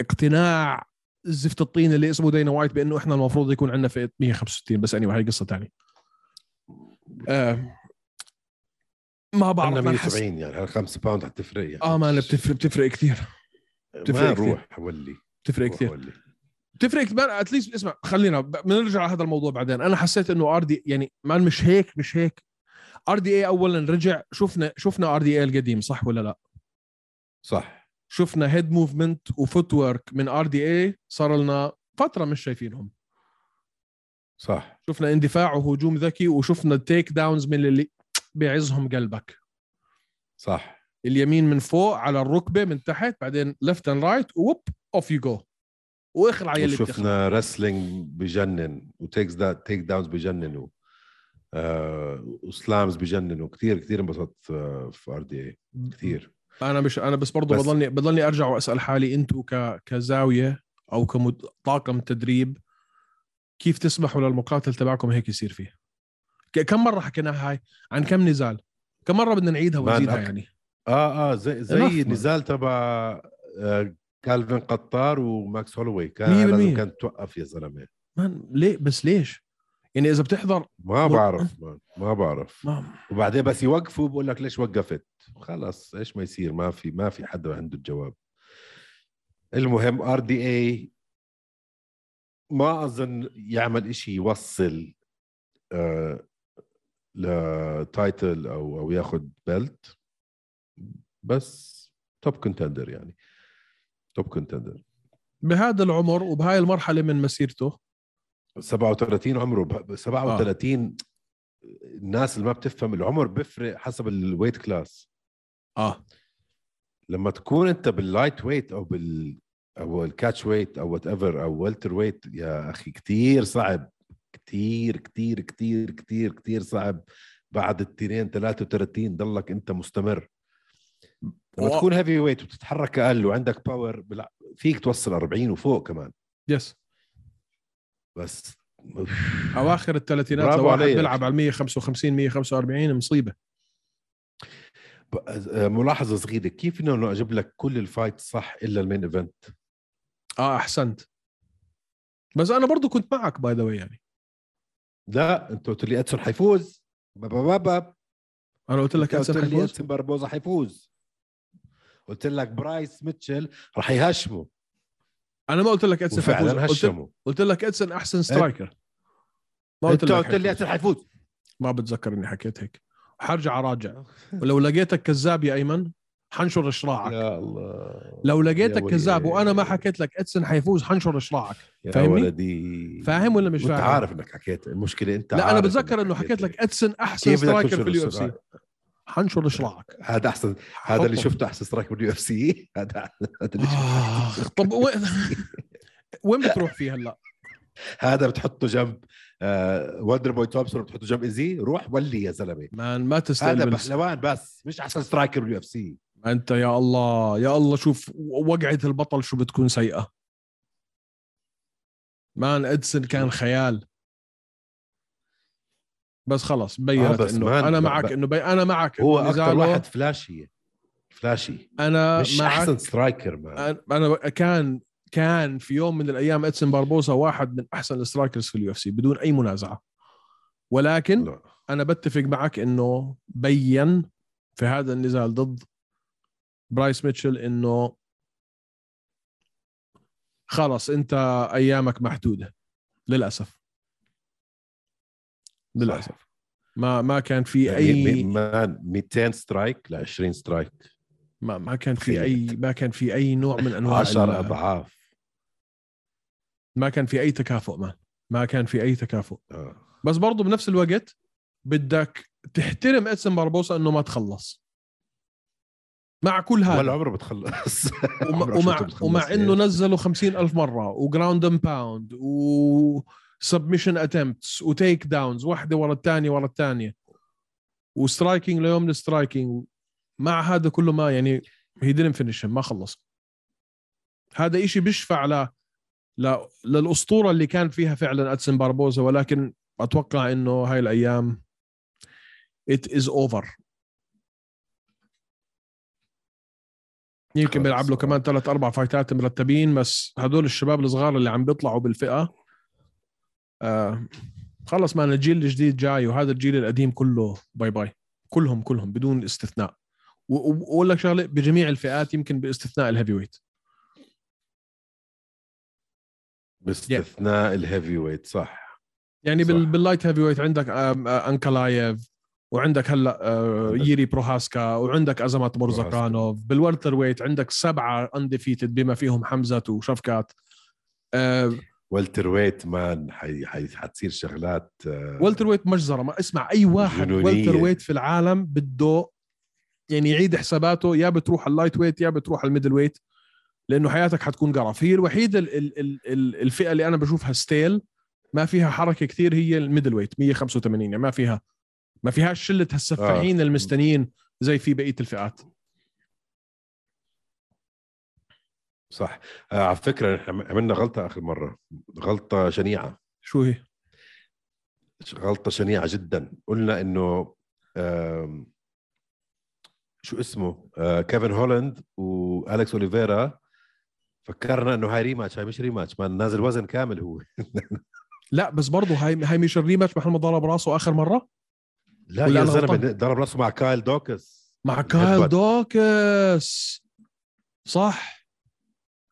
B: اقتناع زفت الطين اللي اسمه دينا وايت بانه احنا المفروض يكون عندنا فئه 165 بس اني anyway, هاي قصه ثانيه آه ما بعرف
C: عندنا
B: ما حس...
C: 170 يعني على 5 باوند حتفرق يعني
B: اه ما أنا بتفرق بتفرق كثير بتفرق
C: ما
B: كتير.
C: روح ولي
B: بتفرق
C: روح
B: كثير
C: ولي
B: تفرق كمان اتليست اسمع خلينا ب- بنرجع على هذا الموضوع بعدين انا حسيت انه ار دي يعني مان مش هيك مش هيك ار دي اي اولا رجع شفنا شفنا ار دي اي القديم صح ولا لا
C: صح
B: شفنا هيد موفمنت وفوت ورك من ار دي اي صار لنا فتره مش شايفينهم
C: صح
B: شفنا اندفاع وهجوم ذكي وشفنا التيك داونز من اللي بيعزهم قلبك
C: صح
B: اليمين من فوق على الركبه من تحت بعدين ليفت اند رايت ووب اوف يو جو واخلع يلي بتخلع
C: وشفنا رسلينج بجنن وتيكس دا تيك داونز بجننوا آه وسلامز بجننوا كثير كثير انبسطت آه، في ار دي اي كثير
B: انا مش انا بس برضه
C: بس-
B: بضلني بضلني ارجع واسال حالي انتم ك كزاويه او كطاقم تدريب كيف تسمحوا للمقاتل تبعكم هيك يصير فيه؟ ك- كم مره حكيناها هاي؟ عن كم نزال؟ كم مره بدنا نعيدها
C: مان،
B: ونزيدها
C: أك-
B: يعني؟
C: اه اه زي زي
B: Enough, man.
C: النزال تبع آه، كالفين قطار وماكس هولوي كان
B: 100%
C: لازم كان توقف يا زلمه
B: مان ليه بس ليش؟ يعني اذا بتحضر
C: ما
B: مر-
C: بعرف ما, ما بعرف
B: ما
C: وبعدين بس يوقفوا بقول لك ليش وقفت خلص ايش ما يصير ما في ما في حدا عنده الجواب المهم ار دي اي ما اظن يعمل إشي يوصل آه لتايتل او او ياخذ بيلت بس توب كونتندر يعني توب كونتندر
B: بهذا العمر وبهاي المرحله من مسيرته
C: 37 عمره ب- 37 الناس اللي ما بتفهم العمر بيفرق حسب الويت كلاس آه.
B: اه
C: لما تكون انت باللايت ويت او بال او الكاتش ويت او وات ايفر او والتر ويت يا اخي كتير صعب كتير كتير كتير كتير كتير صعب بعد التنين 33 ضلك انت مستمر لما
B: و-
C: تكون هيفي ويت وتتحرك اقل وعندك باور بلع... فيك توصل 40 وفوق كمان
B: يس
C: بس
B: اواخر الثلاثينات
C: برافو
B: لو واحد
C: عليك.
B: بيلعب على 155 145 مصيبه
C: ب- آه، ملاحظه صغيره كيف انه أنا اجيب لك كل الفايت صح الا المين ايفنت
B: اه احسنت بس انا برضو كنت معك باي ذا يعني
C: لا انت قلت لي ادسون حيفوز بابا بابا
B: انا قلت لك
C: قلت
B: اسف
C: لي
B: حيفوز
C: ياتسن بربوزا حيفوز قلت لك برايس ميتشل رح يهشمه
B: انا ما قلت لك ادسن حيفوز
C: وفعلا
B: قلت,
C: هشمه
B: قلت لك ادسن احسن سترايكر ما قلت
C: انت
B: لك
C: قلت لي
B: حيفوز.
C: ياتسن حيفوز
B: ما بتذكر اني حكيت هيك حرجع اراجع ولو لقيتك كذاب يا ايمن حنشر شراعك
C: يا الله
B: لو
C: يا
B: لقيتك
C: ويلي.
B: كذاب وانا ما حكيت لك ادسن حيفوز حنشر شراعك
C: يا
B: فاهمني؟
C: ولدي
B: فاهم ولا مش
C: وانت
B: فاهم؟
C: عارف انك حكيت المشكله انت
B: لا انا
C: عارف
B: بتذكر
C: إنك
B: انه حكيت
C: لي.
B: لك ادسن احسن
C: كيف بدك
B: سترايكر
C: تنشر
B: في اليو اف سي
C: السرعة؟
B: حنشر شراعك
C: هذا احسن هذا اللي
B: حطه.
C: شفته احسن سترايك باليو اف سي هذا هذا اللي
B: آه. آخ،
C: شفته.
B: طب وين وين بتروح فيه هلا
C: هذا بتحطه جنب آه وندر بوي تومسون بتحطه جنب ايزي روح ولي يا زلمه
B: مان ما
C: هذا
B: تستقبل
C: بحلوان بس مش احسن سترايكر باليو اف سي
B: انت يا الله يا الله شوف وقعه البطل شو بتكون سيئه مان ادسن كان خيال بس خلص بينت
C: آه، بس
B: انه
C: مان،
B: انا
C: ب-
B: معك
C: ب-
B: انه بي... انا معك
C: هو
B: إنه
C: اكثر
B: نزاله.
C: واحد فلاشي فلاشي
B: انا
C: مش
B: معك
C: احسن سترايكر مان
B: انا أنا كان كان في يوم من الايام ادسن باربوسا واحد من احسن السترايكرز في اليو اف سي بدون اي منازعه ولكن
C: لا.
B: انا بتفق معك انه بين في هذا النزال ضد برايس ميتشل انه خلص انت ايامك محدوده للاسف للاسف ما ما كان في
C: يعني
B: اي
C: م- مان 200 سترايك ل 20 سترايك
B: ما, ما كان في
C: تخيل.
B: اي ما كان في اي نوع من انواع
C: 10
B: ال-
C: اضعاف
B: ما كان في اي تكافؤ ما ما كان في اي تكافؤ
C: آه.
B: بس برضو بنفس الوقت بدك تحترم اسم باربوسا انه ما تخلص مع كل هذا
C: ولا عمره بتخلص
B: ومع
C: عمرك شو
B: ومع,
C: بتخلص
B: ومع
C: يعني.
B: انه نزلوا خمسين ألف مرة وجراوند اند باوند و سبمشن اتمبتس وتيك داونز واحدة ورا الثانية ورا الثانية وسترايكينج ليوم السترايكينج مع هذا كله ما يعني هي دينم فينيش ما خلص هذا إشي بيشفع ل... ل... للأسطورة اللي كان فيها فعلا أدسن باربوزا ولكن أتوقع إنه هاي الأيام it is over يمكن
C: خلص.
B: بيلعب له كمان ثلاث اربع فايتات مرتبين بس هدول الشباب الصغار اللي عم بيطلعوا بالفئه آه خلص مان الجيل الجديد جاي وهذا الجيل القديم كله باي باي كلهم كلهم بدون استثناء و- و- واقول لك شغله بجميع الفئات يمكن باستثناء الهيفي ويت
C: باستثناء الهيفي ويت صح
B: يعني بال
C: صح.
B: باللايت هيفي ويت عندك آم، آه، انكلايف وعندك هلا آه،
C: عندك-
B: ييري بروهاسكا وعندك ازمات مرزقانوف بالولتر ويت عندك سبعه انديفيتد بما فيهم حمزه وشفكات آه،
C: والتر ويت مان حي... حي... حتصير شغلات آه،
B: والتر ويت مجزره ما اسمع اي واحد
C: جنونية.
B: والتر ويت في العالم بده يعني يعيد حساباته يا بتروح اللايت ويت يا بتروح الميدل ويت لانه حياتك حتكون قرف هي الوحيده ال ال ال ال الفئه اللي انا بشوفها ستيل ما فيها حركه كثير هي الميدل ويت 185 يعني ما فيها ما فيهاش شله هالسفاحين آه. المستنيين زي في بقيه الفئات
C: صح آه على فكره نحن عملنا غلطه اخر مره غلطه شنيعه
B: شو هي؟
C: ش- غلطه شنيعه جدا قلنا انه آم، شو اسمه آه كيفن هولاند والكس اوليفيرا فكرنا انه هاي ريماتش هاي مش ريماتش ما نازل وزن كامل هو
B: لا بس برضه هاي هاي مش الريماتش محمد ضرب راسه اخر مره
C: لا
B: ولا
C: يا
B: أنا
C: زلمه
B: غلطان؟
C: ضرب راسه مع كايل دوكس
B: مع
C: الهيد
B: كايل
C: بات.
B: دوكس صح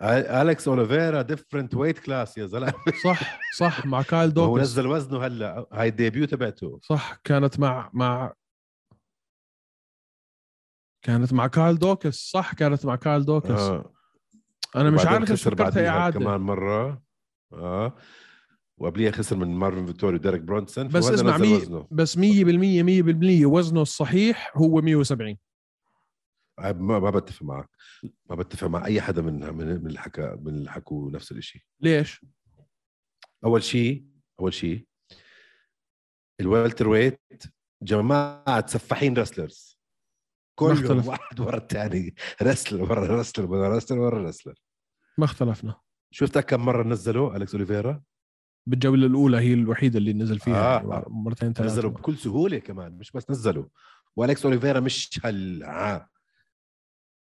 C: الكس اوليفيرا ديفرنت ويت كلاس يا زلمه
B: صح صح مع كايل
C: هو
B: دوكس
C: نزل وزنه هلا هاي الديبيو تبعته
B: صح كانت مع مع كانت مع كايل دوكس صح كانت مع كايل دوكس آه.
C: آه.
B: انا مش
C: وبعدين
B: عارف ايش
C: خسر
B: فكرتها
C: بعديها
B: اعاده
C: كمان مره اه وقبليها خسر من مارفن فيتوري وديريك برونسون
B: بس
C: فهذا
B: اسمع
C: نزل
B: مي-
C: وزنه
B: بس 100% 100% وزنه الصحيح هو 170
C: آه، ما ما بتفق معك ما بتفق مع اي حدا من من من اللي حكى من اللي حكوا نفس الشيء
B: ليش؟
C: اول شيء اول شيء الوالتر ويت جماعه سفاحين رسلرز كلهم
B: نختلف.
C: واحد ورا الثاني رسلر ورا رسلر ورا رسلر ورا رسلر
B: ما اختلفنا
C: شفت كم مره نزلوا الكس اوليفيرا
B: بالجوله الاولى هي الوحيده اللي نزل فيها
C: آه.
B: يعني مر- مرتين ثلاثه
C: نزلوا بكل سهوله كمان مش بس نزلوا والكس اوليفيرا مش هال آه.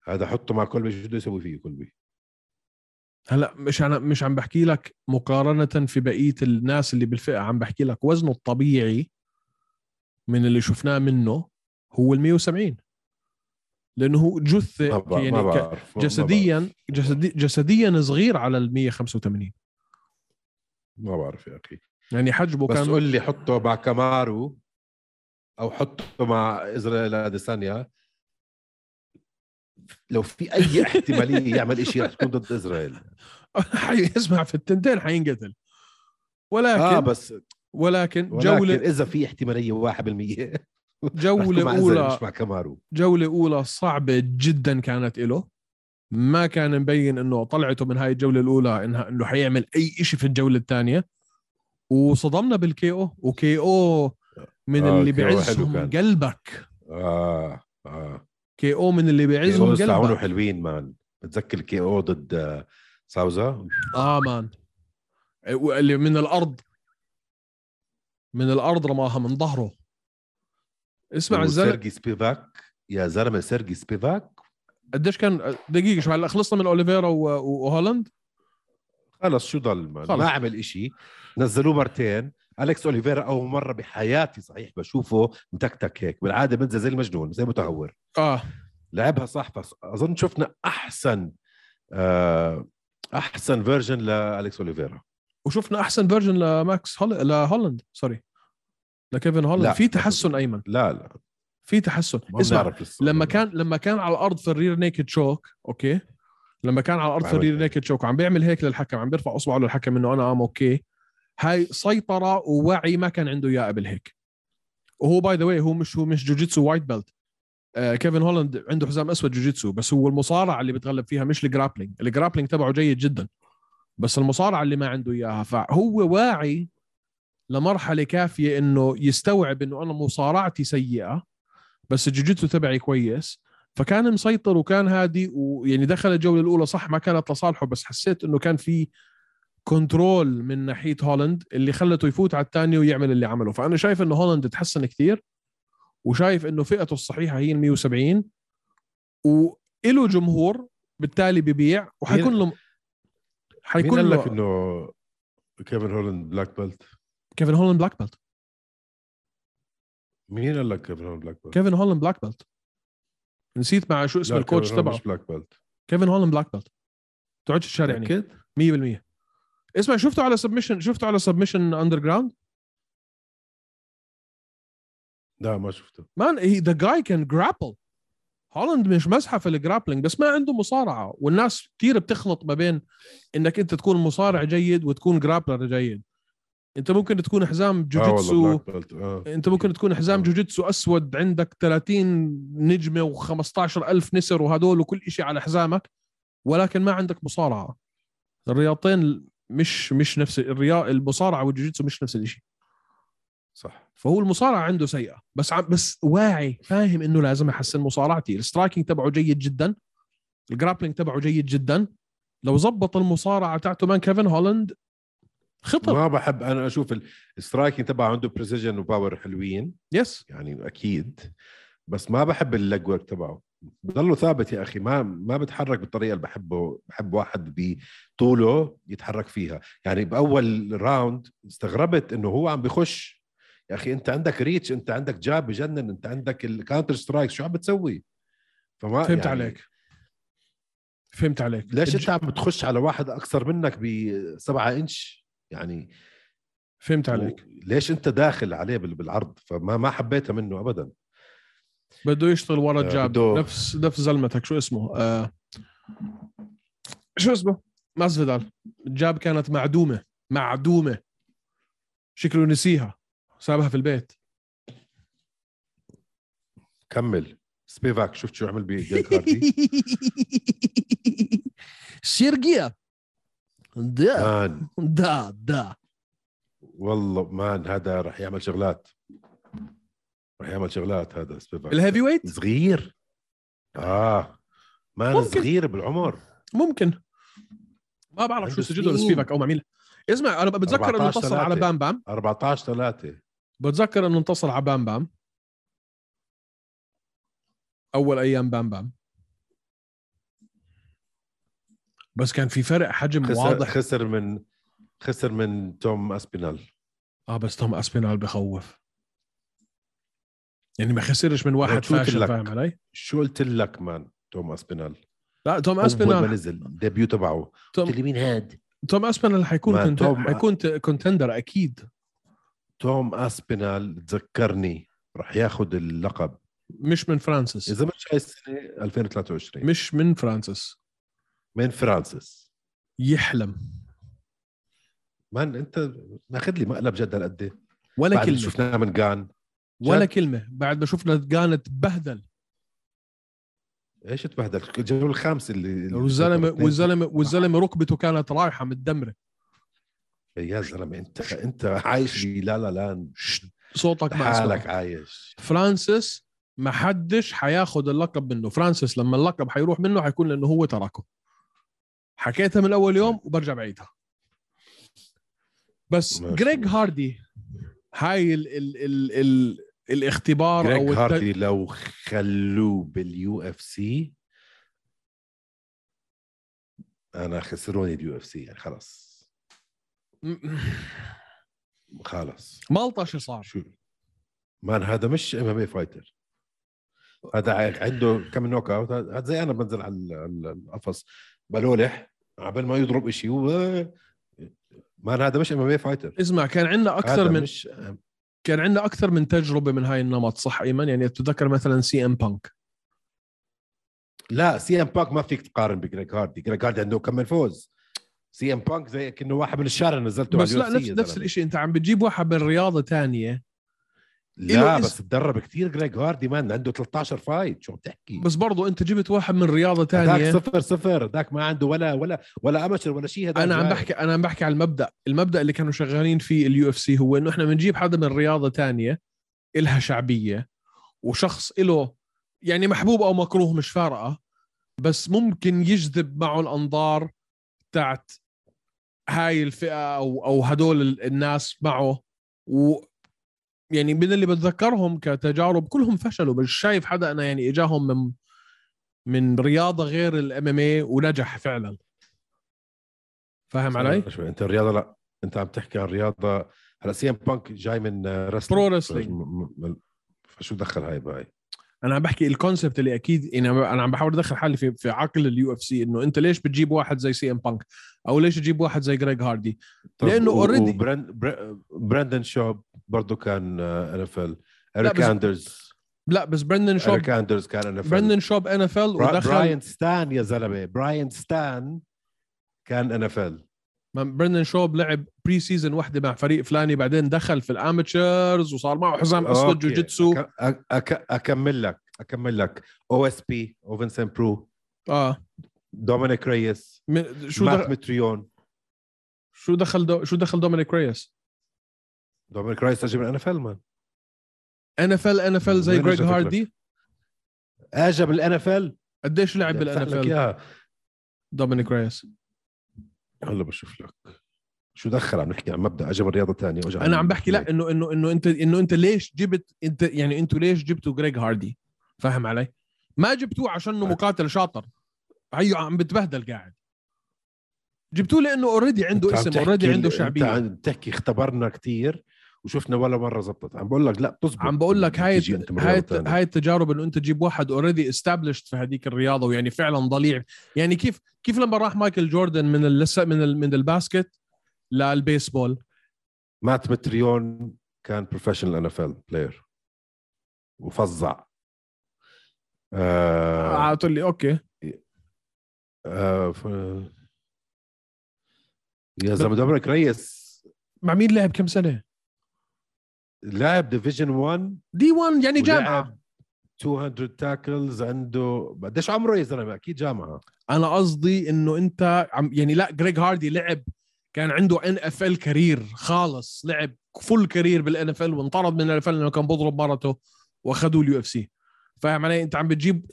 C: هذا حطه مع كولبي شو بده يسوي فيه كولبي
B: هلا مش انا مش عم بحكي لك مقارنه في بقيه الناس اللي بالفئه عم بحكي لك وزنه الطبيعي من اللي شفناه منه هو ال 170 لانه هو
C: ما,
B: جثه
C: بع- ما
B: يعني ك-
C: بعرف ما- ما
B: جسديا
C: بعرف.
B: جسدي جسديا صغير على ال 185
C: ما بعرف يا اخي
B: يعني حجمه
C: بس
B: كان
C: قول لي حطه مع كامارو او حطه مع اسرائيل اديسانيا لو في اي احتماليه يعمل شيء رح تكون ضد اسرائيل
B: حي- اسمع في التنتين حينقتل ولكن
C: اه
B: آه
C: بس
B: ولكن,
C: ولكن
B: ولكن
C: اذا في احتماليه 1% رح تكون
B: جوله
C: مع
B: اولى
C: إسرائيل مش مع كامارو
B: جولة أولى صعبة جدا كانت إله ما كان مبين انه طلعته من هاي الجولة الأولى انها انه حيعمل أي إشي في الجولة الثانية وصدمنا بالكي أو وكي أو من
C: آه،
B: اللي
C: كي أو حلو
B: بعزهم
C: كان.
B: قلبك
C: اه اه
B: كي أو من اللي بعزهم
C: ساعونه
B: قلبك
C: حلوين مان بتذكر كي او ضد آه، ساوزا
B: آه مان اللي من الأرض من الأرض رماها من ظهره اسمع الزلمه
C: سيرجي سبيفاك يا زلمه سيرجي سبيفاك
B: قديش كان دقيقه شو هلا خلصنا من اوليفيرا و- و- وهولاند
C: خلص شو ضل ما,
B: خلص.
C: ما عمل إشي نزلوه مرتين الكس اوليفيرا اول مره بحياتي صحيح بشوفه متكتك هيك بالعاده بنزل زي المجنون زي متهور
B: اه
C: لعبها صح بس اظن شفنا احسن آه احسن فيرجن لالكس اوليفيرا
B: وشفنا احسن فيرجن لماكس هول... لهولاند سوري لكيفن هولاند
C: لا.
B: في تحسن ايمن
C: لا لا
B: في تحسن
C: ما
B: اسمع
C: بنعرف لسه.
B: لما كان لما كان على الارض في الرير نيكد شوك اوكي لما كان على الارض في
C: عمل
B: الرير
C: هيك.
B: نيكد شوك وعم بيعمل هيك للحكم عم بيرفع اصبعه للحكم انه انا ام اوكي هاي سيطره ووعي ما كان عنده اياه قبل هيك وهو باي ذا واي هو مش هو مش جوجيتسو وايت بيلت آه كيفن هولاند عنده حزام اسود جوجيتسو بس هو المصارعه اللي بتغلب فيها مش الجرابلينج الجرابلينج تبعه جيد جدا بس المصارعه اللي ما عنده اياها فهو واعي لمرحله كافيه انه يستوعب انه انا مصارعتي سيئه بس الجوجيتسو تبعي كويس فكان مسيطر وكان هادي ويعني دخل الجوله الاولى صح ما كانت لصالحه بس حسيت انه كان في كنترول من ناحيه هولند اللي خلته يفوت على الثاني ويعمل اللي عمله فانا شايف انه هولند تحسن كثير وشايف انه فئته الصحيحه هي ال 170 وإله جمهور بالتالي ببيع وحيكون له
C: مين
B: حيكون
C: قال لك
B: له
C: انه كيفن هولند بلاك بيلت
B: كيفن هولند بلاك بيلت
C: مين قال لك كيفن هولند بلاك بيلت
B: كيفن هولند بلاك بيلت نسيت مع شو اسم
C: لا،
B: الكوتش
C: كيفن هولند
B: تبعه
C: مش بلاك بيلت
B: كيفن هولند بلاك بيلت تقعدش تشارعني
C: متأكد؟
B: 100% اسمع شفته على سبمشن شفته على سبمشن اندر جراوند
C: لا ما شفته
B: مان ذا جاي كان جرابل هولند مش مزحه في الجرابلينج بس ما عنده مصارعه والناس كثير بتخلط ما بين انك انت تكون مصارع جيد وتكون جرابلر جيد انت ممكن تكون حزام
C: آه
B: جوجيتسو
C: والله بلاك بيلت آه.
B: انت ممكن تكون حزام
C: آه.
B: جوجيتسو اسود عندك 30 نجمه و15 الف نسر وهدول وكل شيء على حزامك ولكن ما عندك مصارعه الرياضتين مش مش نفس الرياض المصارعه والجوجيتسو مش نفس الشيء
C: صح
B: فهو المصارعه عنده سيئه بس عم بس واعي فاهم انه لازم احسن مصارعتي السترايكنج تبعه جيد جدا الجرابلينج تبعه جيد جدا لو زبط المصارعه تاعته مان كيفن هولاند خطر
C: ما بحب انا اشوف ال- السترايكنج تبعه عنده بريسيجن وباور حلوين
B: يس
C: يعني اكيد بس ما بحب اللج ورك تبعه بضله ثابت يا اخي ما ما بتحرك بالطريقه اللي بحبه بحب واحد بطوله يتحرك فيها يعني باول راوند استغربت انه هو عم بخش يا اخي انت عندك ريتش انت عندك جاب بجنن انت عندك الكاونتر سترايك شو عم بتسوي فما يعني
B: فهمت عليك فهمت عليك
C: ليش انت عم بتخش على واحد اكثر منك بسبعة انش يعني
B: فهمت عليك
C: ليش انت داخل عليه بال- بالعرض فما ما حبيتها منه ابدا
B: بده يشتغل ورا
C: آه،
B: الجاب
C: بده-
B: نفس نفس زلمتك شو اسمه آه شو اسمه ماسفيدال الجاب كانت معدومه معدومه شكله نسيها سابها في البيت
C: كمل سبيفاك شفت شو عمل بجيك هاردي
B: سيرجيا دا
C: مان
B: دا دا
C: والله مان هذا رح يعمل شغلات رح يعمل شغلات هذا سبيفاك
B: الهيفي ويت
C: صغير اه مان
B: ممكن.
C: صغير بالعمر
B: ممكن ما بعرف شو
C: عنده
B: سجله
C: سنين.
B: لسبيفك او ما عملها اسمع انا بتذكر انه
C: 14
B: انتصر على
C: ثلاثة.
B: بام بام
C: 14 3
B: بتذكر انه انتصر على بام بام اول ايام بام بام بس كان في فرق حجم
C: خسر
B: واضح
C: خسر من خسر من توم اسبينال
B: اه بس توم اسبينال بخوف يعني ما خسرش من واحد
C: شو قلت
B: فاشل
C: لك؟
B: فاهم علي؟
C: شو قلت لك مان توم اسبينال
B: لا توم
C: اول ما
B: اسبينال
C: نزل الديبيو تبعه
B: توم-
C: قلت لي مين هاد
B: توم اسبينال حيكون
C: ما
B: كنت...
C: توم-
B: حيكون ت- كونتندر اكيد
C: توم اسبينال تذكرني رح ياخذ اللقب
B: مش من فرانسيس
C: اذا مش هاي السنه 2023
B: مش من فرانسيس
C: من فرانسيس
B: يحلم
C: مان انت ماخذ لي مقلب جد هالقد إيه؟
B: ولا
C: بعد اللي
B: كلمه
C: شفناه من جان
B: ولا
C: جد.
B: كلمه بعد ما شفنا كانت بهدل
C: ايش تبهدل الجوله الخامسه اللي اللي
B: والزلمه
C: سيطرت.
B: والزلمه والزلمه ركبته كانت رايحه متدمره
C: يا زلمه انت انت عايش بي- لا لا لاند
B: صوتك ما
C: حالك
B: اسمعك
C: عايش
B: فرانسيس ما حدش حياخد اللقب منه فرانسيس لما اللقب حيروح منه حيكون لانه هو تركه حكيتها من اول يوم وبرجع بعيدها بس
C: ماشي.
B: جريج هاردي هاي ال ال ال ال الاختبار
C: جريج
B: او الت...
C: هاردي لو خلوه باليو اف سي انا خسروني اليو اف سي يعني خلص خلص
B: مالطا شو صار
C: شو مان هذا مش ام ام اي فايتر هذا ع- عنده كم نوك اوت هذا هذا زي انا بنزل على ال- على القفص بلولح عبال ما يضرب شيء مان هذا مش ام ام اي فايتر
B: اسمع كان عندنا اكثر
C: هذا
B: من
C: مش
B: كان عندنا اكثر من تجربه من هاي النمط صح ايمن يعني بتتذكر مثلا سي ام بانك
C: لا سي ام بانك ما فيك تقارن بجريك هاردي جريك هاردي عنده كم من فوز سي ام بانك زي كانه واحد من الشارع نزلته
B: بس
C: على
B: لا
C: ال UFC
B: نفس
C: يا
B: نفس
C: زلمة.
B: الشيء انت عم بتجيب واحد من رياضه تانية إله
C: لا
B: اسم.
C: بس تدرب كثير جريك هاردي مان عنده 13 فايت شو عم تحكي
B: بس برضو انت جبت واحد من رياضه
C: ذاك
B: تانية
C: صفر صفر ذاك ما عنده ولا ولا ولا امشر ولا شيء هذا
B: انا عم
C: جاي.
B: بحكي انا عم بحكي على المبدا المبدا اللي كانوا شغالين فيه اليو اف سي هو انه احنا بنجيب حدا من رياضه تانية إلها شعبيه وشخص إله يعني محبوب او مكروه مش فارقه بس ممكن يجذب معه الانظار تاعت هاي الفئه او او هدول ال- الناس معه و يعني من اللي بتذكرهم كتجارب كلهم فشلوا مش شايف حدا انا يعني اجاهم من من رياضه غير الام ام اي ونجح فعلا فاهم علي؟
C: شوي انت الرياضه لا انت عم تحكي عن رياضه هلا سي ام بانك جاي من آه،
B: برو
C: رسلينج
B: رسلينج
C: فشو دخل هاي بهاي
B: انا عم بحكي الكونسبت اللي اكيد يعني انا عم بحاول ادخل حالي في, في عقل اليو اف سي انه انت ليش بتجيب واحد زي سي ام بانك او ليش تجيب واحد زي جريج هاردي
C: طب
B: لأنه
C: و-
B: already-
C: وبرن- بر- براندن شوب برضه كان آه، ان اف ال
B: لا،
C: اريك
B: بس-
C: اندرز
B: لا بس برندن شوب
C: اريك اندرز كان ان اف ال
B: برندن شوب ان اف ال ودخل
C: براين ستان يا زلمه براين ستان كان ان اف ال
B: برندن شوب لعب بري سيزون وحده مع فريق فلاني بعدين دخل في الاماتشرز وصار معه حزام اسود
C: أوكي.
B: جوجيتسو
C: أك- أك- اكمل لك اكمل لك او اس بي اوفن برو
B: اه
C: دومينيك ريس
B: من- شو
C: مات
B: دخل
C: متريون
B: شو دخل دو شو دخل دومينيك ريس
C: دومينيك ريس اجى من ان اف ال مان
B: ان اف ال ان اف ال زي
C: وين
B: جريج
C: إجا فكرة؟
B: هاردي
C: اجى من الان اف ال
B: قديش لعب بالان اف ال دومينيك ريس
C: هلا بشوف لك شو دخل عم نحكي عن مبدا اجى من رياضه ثانيه واجى
B: انا عم بحكي لا انه انه انه انت انه انت ليش جبت انت يعني انتوا ليش جبتوا جريج هاردي فاهم علي ما جبتوه عشان انه
C: أكيد.
B: مقاتل شاطر هيو عم بتبهدل قاعد جبتوه لانه اوريدي عنده اسم اوريدي عنده شعبيه
C: انت بتحكي اختبرنا كثير وشفنا ولا مره زبطت عم بقول لك لا بتزبط
B: عم بقول لك هاي
C: تيجي انت من
B: هاي
C: رياضة تانية.
B: هاي التجارب انه انت تجيب واحد اوريدي استابلشت في هذيك الرياضه ويعني فعلا ضليع يعني كيف كيف لما راح مايكل جوردن من ال- لسه من ال- من الباسكت للبيسبول
C: مات متريون كان بروفيشنال ان اف ال بلاير وفظع آه
B: قلت لي اوكي
C: آه ف... يا زلمه دومينيك ريس
B: مع مين لعب كم سنه
C: لاعب ديفيجن 1
B: دي 1 يعني جامعه
C: ولعب 200 تاكلز عنده قديش عمره يا زلمه اكيد جامعه
B: انا قصدي انه انت عم يعني لا جريج هاردي لعب كان عنده ان اف ال كارير خالص لعب فول كارير بالان اف ال وانطرد من الان اف ال لانه كان بضرب مرته واخذوه اليو اف سي فاهم علي انت عم بتجيب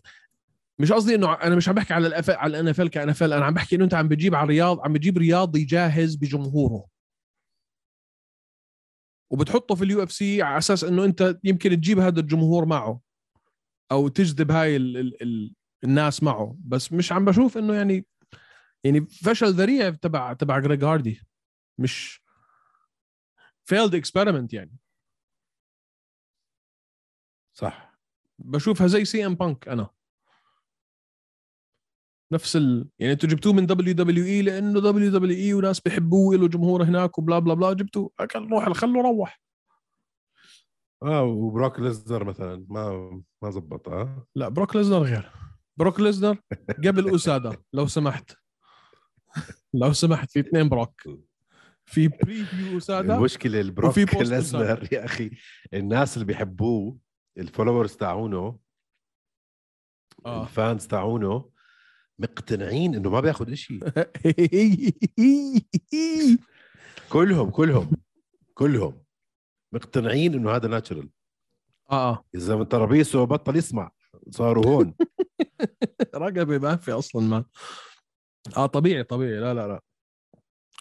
B: مش قصدي انه ع- انا مش عم بحكي على الأف... على الان اف ال كان اف ال انا عم بحكي انه انت عم بتجيب على رياض عم بتجيب رياضي جاهز بجمهوره وبتحطه في اليو اف سي على اساس انه انت يمكن تجيب هذا الجمهور معه او تجذب هاي ال... ال... ال... الناس معه بس مش عم بشوف انه يعني يعني فشل ذريع تبع تبع جريج هاردي مش فيلد اكسبيرمنت يعني
C: صح
B: بشوفها زي سي ام بانك انا نفس ال يعني انتوا جبتوه من E دبليو دبليو اي لانه دبليو دبليو اي E وناس بيحبوه له جمهور هناك وبلا بلا بلا جبتوه اكل روح خلوه روح
C: اه وبروك ليزنر مثلا ما ما زبط اه
B: لا بروك ليزنر غير بروك ليزنر قبل اسادا لو سمحت لو سمحت في اثنين بروك في بريفيو اسادا
C: المشكله البروك
B: وفي بوست
C: ليزنر يا اخي الناس اللي بيحبوه الفولورز تاعونه
B: آه.
C: الفانز تاعونه مقتنعين انه ما بياخذ شيء كلهم كلهم كلهم مقتنعين انه هذا ناتشرال
B: اه
C: اذا من ترابيسه بطل يسمع صاروا هون
B: رقبه ما في اصلا ما اه طبيعي طبيعي لا لا لا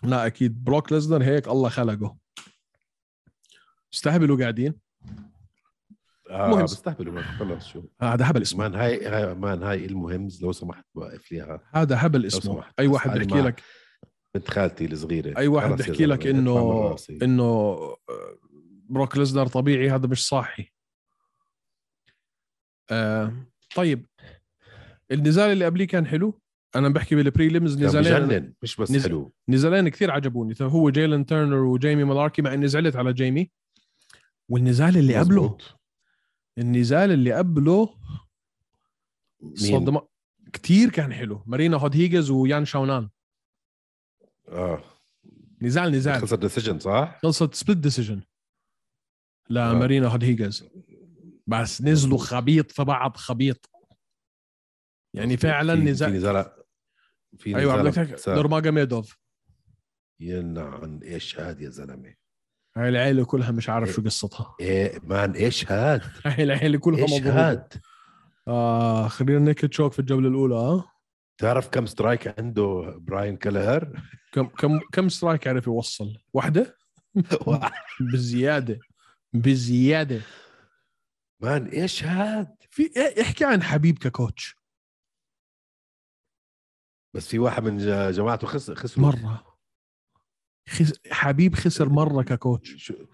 B: لا اكيد بروك ليزنر هيك الله خلقه استهبلوا قاعدين
C: آه
B: مهم.
C: بستهبلوا مان، خلص شو
B: هذا هبل اسمه
C: مان هاي هاي مان هاي المهمز لو سمحت وقف ليها
B: هذا هبل اسمه
C: سمحت،
B: اي واحد
C: اسألني
B: بيحكي
C: معك.
B: لك
C: بنت خالتي الصغيره
B: اي واحد
C: خلص يا
B: بيحكي لك
C: زلمة،
B: انه
C: اطلع من راسي.
B: انه آه، بروك ليزنر طبيعي هذا مش صاحي آه طيب النزال اللي قبليه كان حلو انا بحكي بالبريليمز
C: كان
B: نزالين
C: مجنن مش بس
B: نز-
C: حلو
B: نزالين كثير عجبوني هو جيلن تيرنر وجيمي مالاركي مع اني زعلت على جيمي والنزال اللي قبله
C: مظبوط.
B: النزال اللي قبله
C: مين؟
B: صدم كثير كان حلو مارينا هود هيجز ويان شاونان
C: اه
B: نزال نزال
C: خسر ديسيجن صح؟
B: خلصت سبليت ديسيجن
C: آه.
B: لمارينا هودهيجز بس نزلوا خبيط في بعض خبيط يعني فعلا
C: في-
B: نزال
C: في نزال في
B: ايوه عم
C: نزال
B: بحكي
C: بتساب.
B: نورماجا ميدوف
C: يلعن ايش هاد يا زلمه
B: هاي العيله كلها مش عارف شو قصتها
C: ايه مان ايش هاد
B: هاي العيله كلها
C: ايش
B: مضروبه
C: هاد
B: آه خلينا نيكد شوك في الجوله الاولى اه
C: تعرف كم سترايك عنده براين كلهر
B: كم كم كم سترايك عرف يوصل واحده بزياده بزياده
C: مان ايش هاد
B: في إيه- احكي عن حبيب ككوتش
C: بس في واحد من ج- جماعته خسر خسر
B: مره خس... حبيب خسر مره ككوتش
C: شو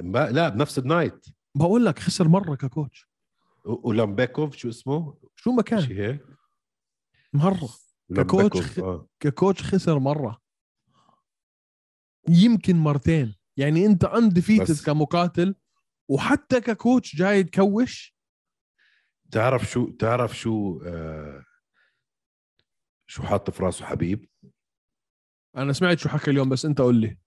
C: ب- لا بنفس النايت
B: بقول لك خسر مره ككوتش
C: و- ولامبيكوف شو اسمه؟
B: شو ما كان
C: شيء هيك
B: مره ككوتش
C: لامبيكوف،
B: خ-
C: آه.
B: ككوتش خسر مره يمكن مرتين يعني انت اندفيتد
C: بس-
B: كمقاتل وحتى ككوتش جاي تكوش
C: تعرف شو تعرف شو آه شو حاط في راسه حبيب؟
B: انا سمعت شو حكى اليوم بس انت قول لي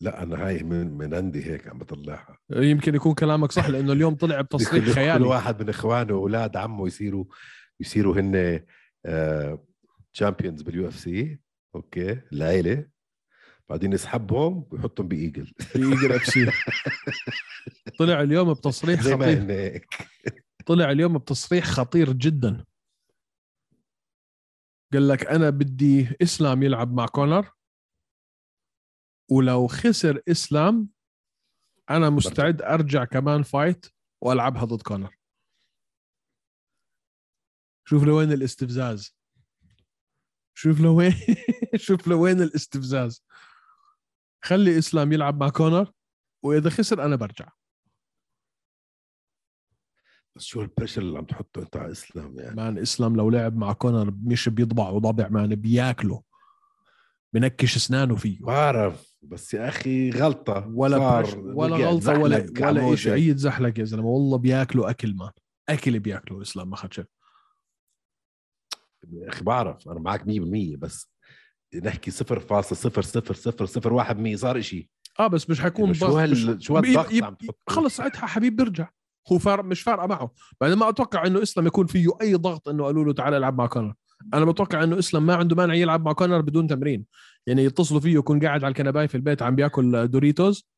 C: لا انا هاي من من عندي هيك عم بطلعها
B: يمكن يكون كلامك صح لانه اليوم طلع بتصريح
C: كل- كل
B: خيالي
C: واحد من اخوانه واولاد عمه يصيروا يصيروا هن آه، تشامبيونز باليو اف سي اوكي العيله بعدين يسحبهم ويحطهم بايجل
B: بيقرا بسير طلع اليوم بتصريح
C: زي ما
B: خطير
C: هن هيك
B: طلع اليوم بتصريح خطير جدا قال لك انا بدي اسلام يلعب مع كونر ولو خسر اسلام انا مستعد ارجع كمان فايت والعبها ضد كونر شوف لوين الاستفزاز شوف لوين شوف لوين الاستفزاز خلي اسلام يلعب مع كونر واذا خسر انا برجع
C: بس شو البريشر اللي عم تحطه انت على اسلام يعني
B: مان اسلام لو لعب مع كونر مش بيضبع وضبع مان بياكله بنكش اسنانه فيه
C: بعرف بس يا اخي غلطه
B: ولا
C: صار
B: برش ولا
C: وقع
B: غلطه ولا
C: زحلق
B: ولا
C: عمودي.
B: شيء اي زحلق يا زلمه والله بياكله اكل مان اكل بياكله اسلام ما خدش
C: يا اخي بعرف انا معك 100% بس نحكي 0.00001% صار شيء
B: اه بس مش حيكون
C: يعني شو
B: ضغط،
C: هال
B: مش-
C: شو هالضغط
B: يب- يب-
C: عم تحطه
B: خلص ساعتها حبيب بيرجع هو فار مش فارقه معه بعدين ما اتوقع انه اسلام يكون فيه اي ضغط انه قالوا له تعال العب مع كونر انا بتوقع انه اسلام ما عنده مانع يلعب مع كونر بدون تمرين يعني يتصلوا فيه يكون قاعد على الكنبايه في البيت عم بياكل دوريتوز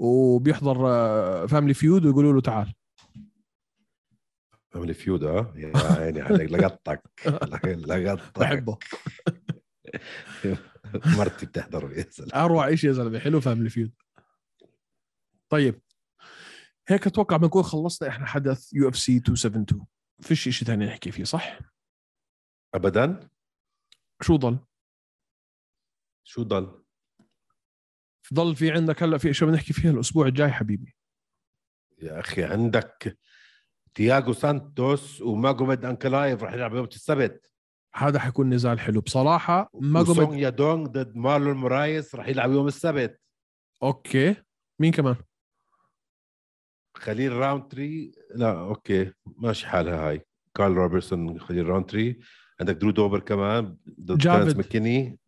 B: وبيحضر فاملي فيود ويقولوا له تعال
C: عمل فيود اه يا عيني عليك لقطتك لقطتك
B: بحبه
C: مرتي بتحضر يا سلام
B: اروع شيء يا زلمه حلو فاملي فيود طيب هيك اتوقع بنكون خلصنا احنا حدث يو اف سي 272 فيش شيء ثاني نحكي فيه صح
C: ابدا
B: شو ضل
C: شو ضل؟
B: ضل في عندك هلا في اشياء بنحكي فيها الاسبوع الجاي حبيبي
C: يا اخي عندك تياغو سانتوس وماجوميد انكلايف رح يلعب يوم السبت
B: هذا حيكون نزال حلو بصراحه ماجوميد
C: وسونيا دونغ ضد مارلون مورايس رح يلعب يوم السبت
B: اوكي مين كمان
C: خليل راونتري لا اوكي ماشي حالها هاي كارل روبرتسون خليل راونتري عندك درو دوبر كمان ضد
B: جافد.
C: ترنس مكيني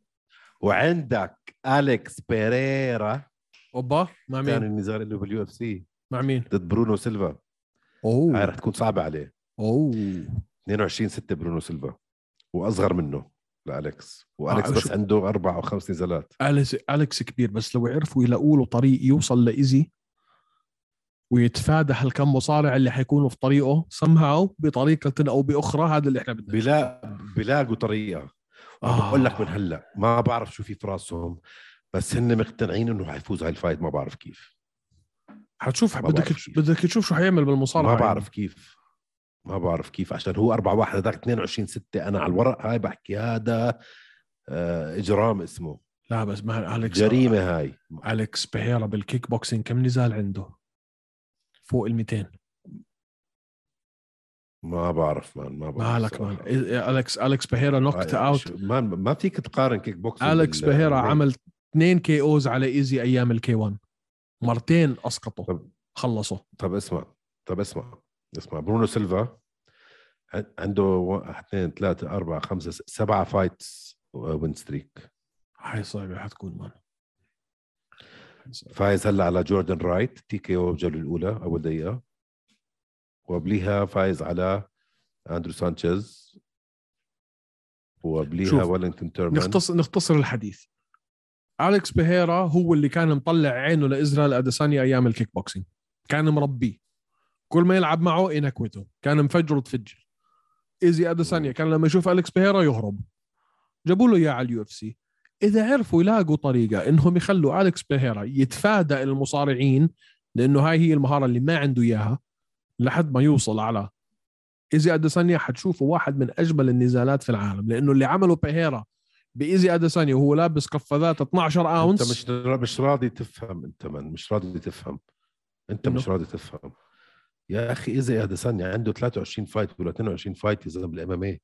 C: وعندك اليكس بيريرا
B: اوبا مع
C: ثاني
B: مين
C: النزال اللي باليو اف سي
B: مع مين
C: ضد برونو سيلفا
B: أمم.
C: هاي
B: اوه
C: رح تكون صعبه عليه
B: اوه
C: 22 6 برونو سيلفا واصغر منه لالكس واليكس
B: آه،
C: بس
B: شو-
C: عنده اربع او خمس نزالات
B: اليكس اليكس كبير بس لو عرفوا يلاقوا له طريق يوصل لايزي ويتفادى هالكم مصارع اللي حيكونوا في طريقه somehow بطريقه او باخرى هذا اللي احنا بدنا
C: بلا بلاقوا طريقه
B: آه.
C: بقول لك من هلا ما بعرف شو في في راسهم بس هن مقتنعين انه حيفوز هاي الفايت ما بعرف كيف
B: حتشوف
C: ما
B: بدك
C: بعرف.
B: بدك تشوف شو حيعمل بالمصارعه
C: ما
B: يعني.
C: بعرف كيف ما بعرف كيف عشان هو 4 1 هذاك 22 6 انا على الورق هاي بحكي هذا آه، اجرام اسمه
B: لا بس ما اليكس
C: جريمه هاي
B: اليكس بحيرة بالكيك بوكسينج كم نزال عنده؟ فوق ال 200
C: ما بعرف مان ما بعرف
B: مالك
C: صراحة.
B: مان إيه، اليكس اليكس بحيرة نوكت
C: هاي
B: اوت
C: آه، شو- ما ما فيك تقارن كيك بوكس
B: اليكس بهيرا عمل اثنين كي اوز على ايزي ايام الكي 1 مرتين اسقطوا
C: طب.
B: خلصوا
C: طب اسمع طب اسمع اسمع برونو سيلفا عن- عنده واحد اثنين ثلاثة أربعة خمسة س- سبعة آه، فايتس وين ستريك
B: هاي صعبه حتكون مان هاي صعبة.
C: فايز هلا على جوردن رايت تي كي او بالجولة الأولى أول دقيقة وقبليها فايز على أندرو سانشيز وقبليها
B: شوف،
C: ويلينغتون تيرمان
B: نختصر نختصر الحديث اليكس بهيرا هو اللي كان مطلع عينه لازرائيل اديسانيا ايام الكيك بوكسينج كان مربيه كل ما يلعب معه ينكوته كان مفجر وتفجر ايزي اديسانيا كان لما يشوف اليكس بهيرا يهرب جابوا له اياه على اليو اف سي اذا عرفوا يلاقوا طريقه انهم يخلوا اليكس بهيرا يتفادى المصارعين لانه هاي هي المهاره اللي ما عنده اياها لحد ما يوصل على ايزي اديسانيا حتشوفه واحد من اجمل النزالات في العالم لانه اللي عمله بهيرا بايزي اديسانيا وهو لابس قفازات 12
C: انت
B: اونس
C: مش مش راضي تفهم انت من مش راضي تفهم انت مش راضي تفهم يا اخي اذا اديسانيا عنده 23 فايت ولا 22 فايت يا زلمه بالام ام اي إيه.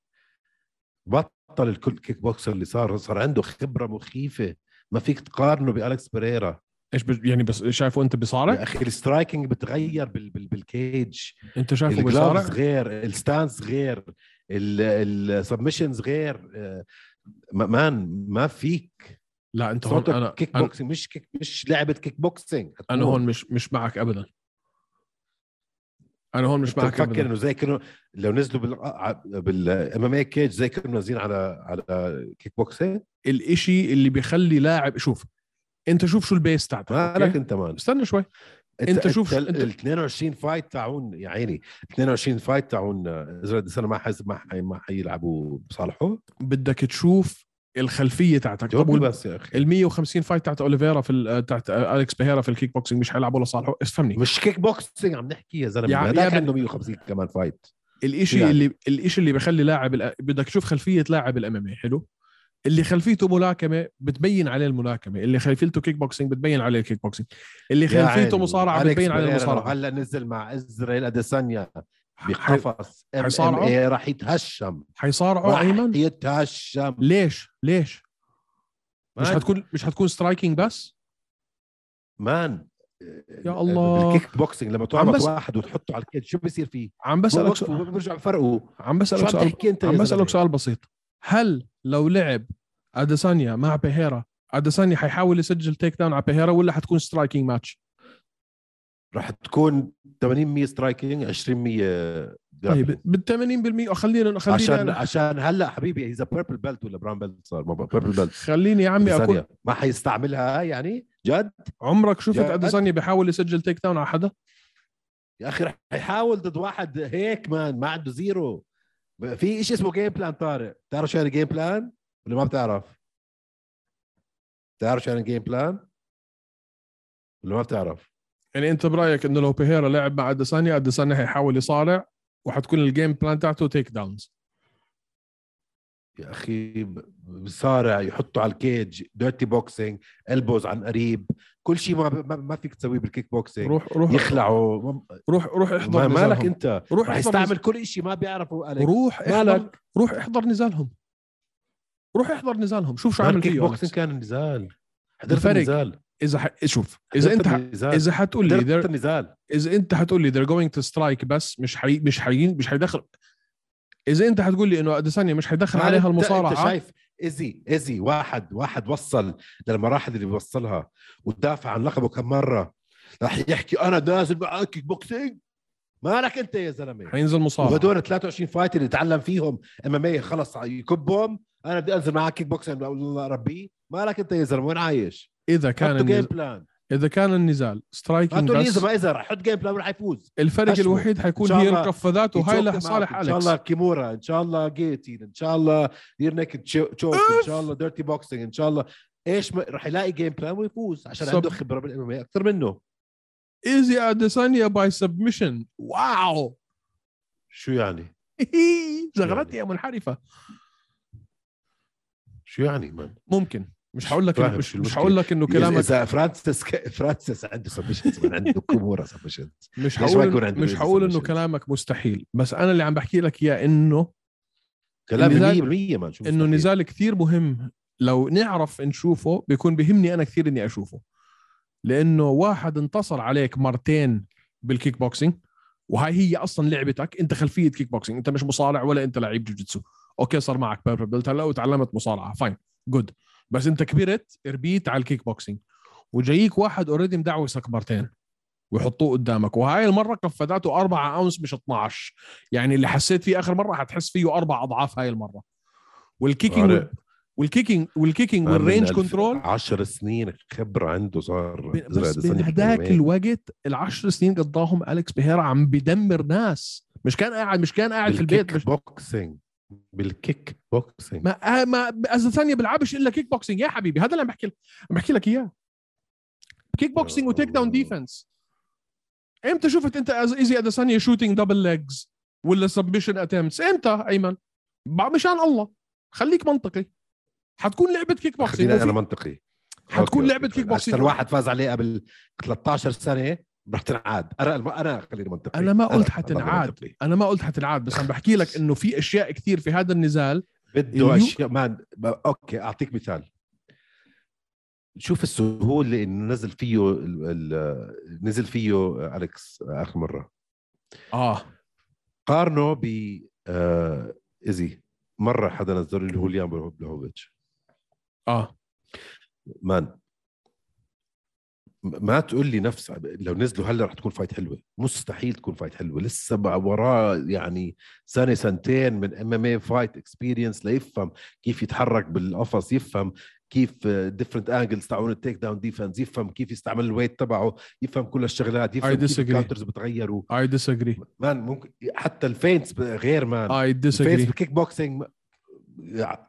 C: بطل الكل كيك بوكسر اللي صار صار عنده خبره مخيفه ما فيك تقارنه بالكس بريرا
B: ايش بج... يعني بس شايفه انت
C: يا
B: بيصارع؟
C: اخي السترايكنج بتغير بال بال بالكيج
B: انت شايفه
C: الجلافز
B: بيصارع؟
C: غير الستانس غير السبمشنز غير آه، ما- مان ما فيك
B: لا انت هون
C: صوتك
B: انا
C: كيك
B: أنا-
C: بوكسينج مش كيك مش لعبه كيك بوكسينج
B: انا هون مش مش معك ابدا انا هون مش
C: مش
B: معك
C: معك بفكر
B: ابدا
C: انه زي كانه لو نزلوا بال بالام ام اي كيج زي كانوا نازلين على على كيك بوكسينج
B: الاشي اللي بيخلي لاعب شوف انت شوف شو البيس تاعتك
C: مالك
B: أوكي؟
C: انت مان
B: استنى شوي أنت شوف-
C: ال
B: أنت-
C: ال 22 فايت تاعون يا عيني 22 فايت تاعون ازرق السنه آه، ما حس ما حي- ما حيلعبوا بصالحه
B: بدك تشوف الخلفيه تاعتك طب
C: جاوبني
B: وال-
C: بس يا اخي
B: ال 150 فايت تاعت اوليفيرا في ال- آه، تاعت اليكس بهيرا في الكيك بوكسينج مش حيلعبوا ولا صالحه افهمني
C: مش كيك بوكسينج عم نحكي يعني يا زلمه
B: يا- يا
C: هذاك
B: بن-
C: عنده 150 كمان فايت
B: الاشي
C: يعني.
B: اللي الاشي اللي بخلي لاعب الأ- بدك تشوف خلفيه لاعب الامامي حلو اللي خلفيته ملاكمه بتبين عليه الملاكمه اللي خلفيته كيك بوكسينج بتبين عليه الكيك بوكسينج اللي
C: يا
B: خلفيته
C: عيني.
B: مصارعه
C: أليكس
B: بتبين عليه
C: بيريرا لو
B: المصارعه
C: هلا نزل مع ازرائيل اديسانيا
B: حي-
C: بقفص ام ام
B: حيصارعه؟
C: اي راح يتهشم
B: حيصارعوا
C: راح
B: ايمن
C: يتهشم
B: ليش ليش مش
C: مان.
B: حتكون مش حتكون سترايكينج بس
C: مان آه،
B: يا الله.
C: الكيك بوكسينج لما
B: عم
C: تعبط
B: بس-
C: واحد وتحطه على الكيد شو بيصير فيه؟
B: عم
C: بسألك
B: بسالك سؤال
C: سؤال برجع بفرقه
B: عم
C: شو
B: بسالك
C: عم
B: سؤال
C: تحكي انت يا
B: عم بسالك
C: زلمة؟
B: سؤال بسيط هل لو لعب اديسانيا مع بيهيرا اديسانيا حيحاول يسجل تيك داون على بيهيرا ولا حتكون سترايكينج ماتش
C: رح تكون 80% سترايكينج 20%
B: طيب
C: جرابلينج
B: بال 80% خلينا
C: عشان
B: خلينا
C: عشان هلا حبيبي اذا بيربل بيلت ولا براون بيلت صار ما بيربل بيلت
B: خليني يا عمي اكون
C: ثانية ما حيستعملها هاي يعني جد
B: عمرك شفت
C: جد؟
B: اديسانيا بيحاول يسجل تيك داون على حدا
C: يا اخي رح يحاول ضد واحد هيك مان ما عنده زيرو في شيء اسمه جيم بلان طارق بتعرف شو يعني جيم بلان ولا ما بتعرف؟ بتعرف شو يعني جيم بلان؟ ولا ما بتعرف؟
B: يعني انت برايك انه لو بيهيرا لعب مع اديسانيا اديسانيا حيحاول يصارع وحتكون الجيم بلان تاعته تيك داونز
C: يا اخي ب- بصارع يحطه على الكيج ديرتي بوكسينج البوز عن قريب كل شيء ما, ما, ما فيك تسويه بالكيك بوكسينج
B: روح روح
C: يخلعوا ما-
B: روح روح احضر
C: إيه. ما مالك
B: نزالهم.
C: انت
B: روح
C: رح
B: احضر
C: يستعمل كل شيء ما بيعرفه
B: نز-
C: عليك
B: روح احضر
C: مالك
B: روح احضر نزالهم روح احضر نزالهم شوف شو
C: ما
B: عامل
C: الكيك
B: فيه
C: بوكسينج
B: أونكس.
C: كان النزال حضرت
B: الفرق.
C: النزال
B: اذا ح... شوف اذا انت ح...
C: اذا
B: اذا حتقول لي
C: حضرت
B: they're-
C: النزال
B: اذا انت حتقول لي they're going to strike بس مش حي... مش حي... مش حيدخل اذا انت حتقول لي انه اديسانيا مش حيدخل
C: أنت-
B: عليها
C: انت
B: المصارعه
C: شايف ايزي ايزي واحد واحد وصل للمراحل اللي بيوصلها ودافع عن لقبه كم مره رح يحكي انا نازل معك كيك بوكسينج مالك انت يا زلمه
B: حينزل مصارعه
C: وهدول 23 فايت اللي تعلم فيهم ام ام اي خلص يكبهم انا بدي انزل معك كيك بوكسينج الله ربي مالك انت يا زلمه وين عايش؟
B: اذا
C: كان
B: كان
C: جيم
B: النز...
C: بلان
B: اذا كان النزال سترايكينج
C: هاتوا لي
B: بس
C: اذا ما اذا رح حط جيم بلان وراح يفوز
B: الفرق
C: أشمل.
B: الوحيد حيكون
C: إن شاء
B: هي
C: الله
B: القفازات وهاي
C: يتشوكوا
B: لصالح
C: معكم. ان شاء الله
B: اليكس
C: كيمورا ان شاء الله جيتين ان شاء الله دير نيكد تشوك ان شاء الله ديرتي بوكسينج ان شاء الله ايش ما رح يلاقي جيم بلان ويفوز عشان
B: صب.
C: عنده خبره بالام ام اي اكثر منه
B: ايزي اديسانيا باي سبمشن واو
C: شو يعني
B: زغرتي يا منحرفه
C: شو يعني مان
B: ممكن مش هقول لك إنه-
C: فاهم
B: مش
C: شو
B: مش
C: المشكلة.
B: هقول لك انه كلامك
C: اذا فرانسيس ك... فرانسيس عنده سبشنز مان عنده كمورة سبشنز
B: مش
C: ليش ما يكون
B: هقول
C: عنده
B: مش
C: إيزي
B: هقول انه
C: سبمشن؟
B: كلامك مستحيل بس انا اللي عم بحكي لك اياه انه
C: كلام
B: النزال-
C: 100% مان شو
B: انه
C: مستحيل.
B: نزال كثير مهم لو نعرف نشوفه بيكون بهمني انا كثير اني اشوفه لانه واحد انتصر عليك مرتين بالكيك بوكسينج وهاي هي اصلا لعبتك انت خلفيه كيك بوكسينج انت مش مصارع ولا انت لعيب جوجيتسو اوكي صار معك بيربل بيلت هلا وتعلمت مصارعه فاين جود بس انت كبرت ربيت على الكيك بوكسينج وجايك واحد اوريدي مدعوسك مرتين ويحطوه قدامك وهاي المره قفداته 4 اونس مش 12 يعني اللي حسيت فيه اخر مره حتحس فيه اربع اضعاف هاي المره والكيكينج وال...
C: عارف.
B: والكيكينج والكيكينج
C: مان آه، من
B: والرينج
C: ألف-
B: كنترول
C: 10 سنين خبره عنده صار
B: بس من هداك الوقت العشر سنين قضاهم الكس بيهيرا عم بدمر ناس مش كان قاعد مش كان قاعد في البيت مش
C: بوكسينج بالكيك بوكسينج
B: ما آه ما ازاسانيا بيلعبش الا كيك بوكسينج يا حبيبي هذا اللي عم بحكي لك عم بحكي لك اياه كيك بوكسينج وتيك داون ديفنس امتى شفت انت از ايزي اديسانيا شوتينج دبل ليجز ولا سبمشن اتمتس امتى ايمن بع- مشان الله خليك منطقي حتكون لعبه كيك بوكسينج
C: خلينا انا
B: وفي-
C: منطقي
B: حتكون
C: أوكي،
B: لعبه
C: أوكي.
B: كيك بوكسينج
C: عشان واحد فاز عليها قبل 13 سنه رح تنعاد انا انا خليني منطقي
B: أنا ما
C: أنا-
B: قلت
C: أنا
B: حتنعاد.
C: منطقي.
B: انا ما قلت حتلعب بس عم بحكي لك انه في اشياء كثير في هذا النزال اليو-
C: بده اشياء مان ب- اوكي اعطيك مثال شوف السهوله اللي نزل فيه ال... ال... نزل فيه اليكس اخر مره
B: اه
C: قارنه ب آه... ايزي مره حدا نزل اللي هو ليان بلوفيتش
B: اه
C: مان ما تقول لي نفس لو نزلوا هلا رح تكون فايت حلوه مستحيل تكون فايت حلوه لسه بقى وراه يعني سنه سنتين من ام ام اي فايت اكسبيرينس ليفهم كيف يتحرك بالقفص يفهم كيف ديفرنت انجلز تاعون التيك داون ديفنس يفهم كيف يستعمل الويت تبعه يفهم كل الشغلات يفهم كيف
B: disagree.
C: الكاونترز بتغيروا
B: اي ديسجري
C: مان ممكن حتى الفينتس ب- غير مان
B: اي
C: الفينتس
B: ديسجري
C: بالكيك بوكسينج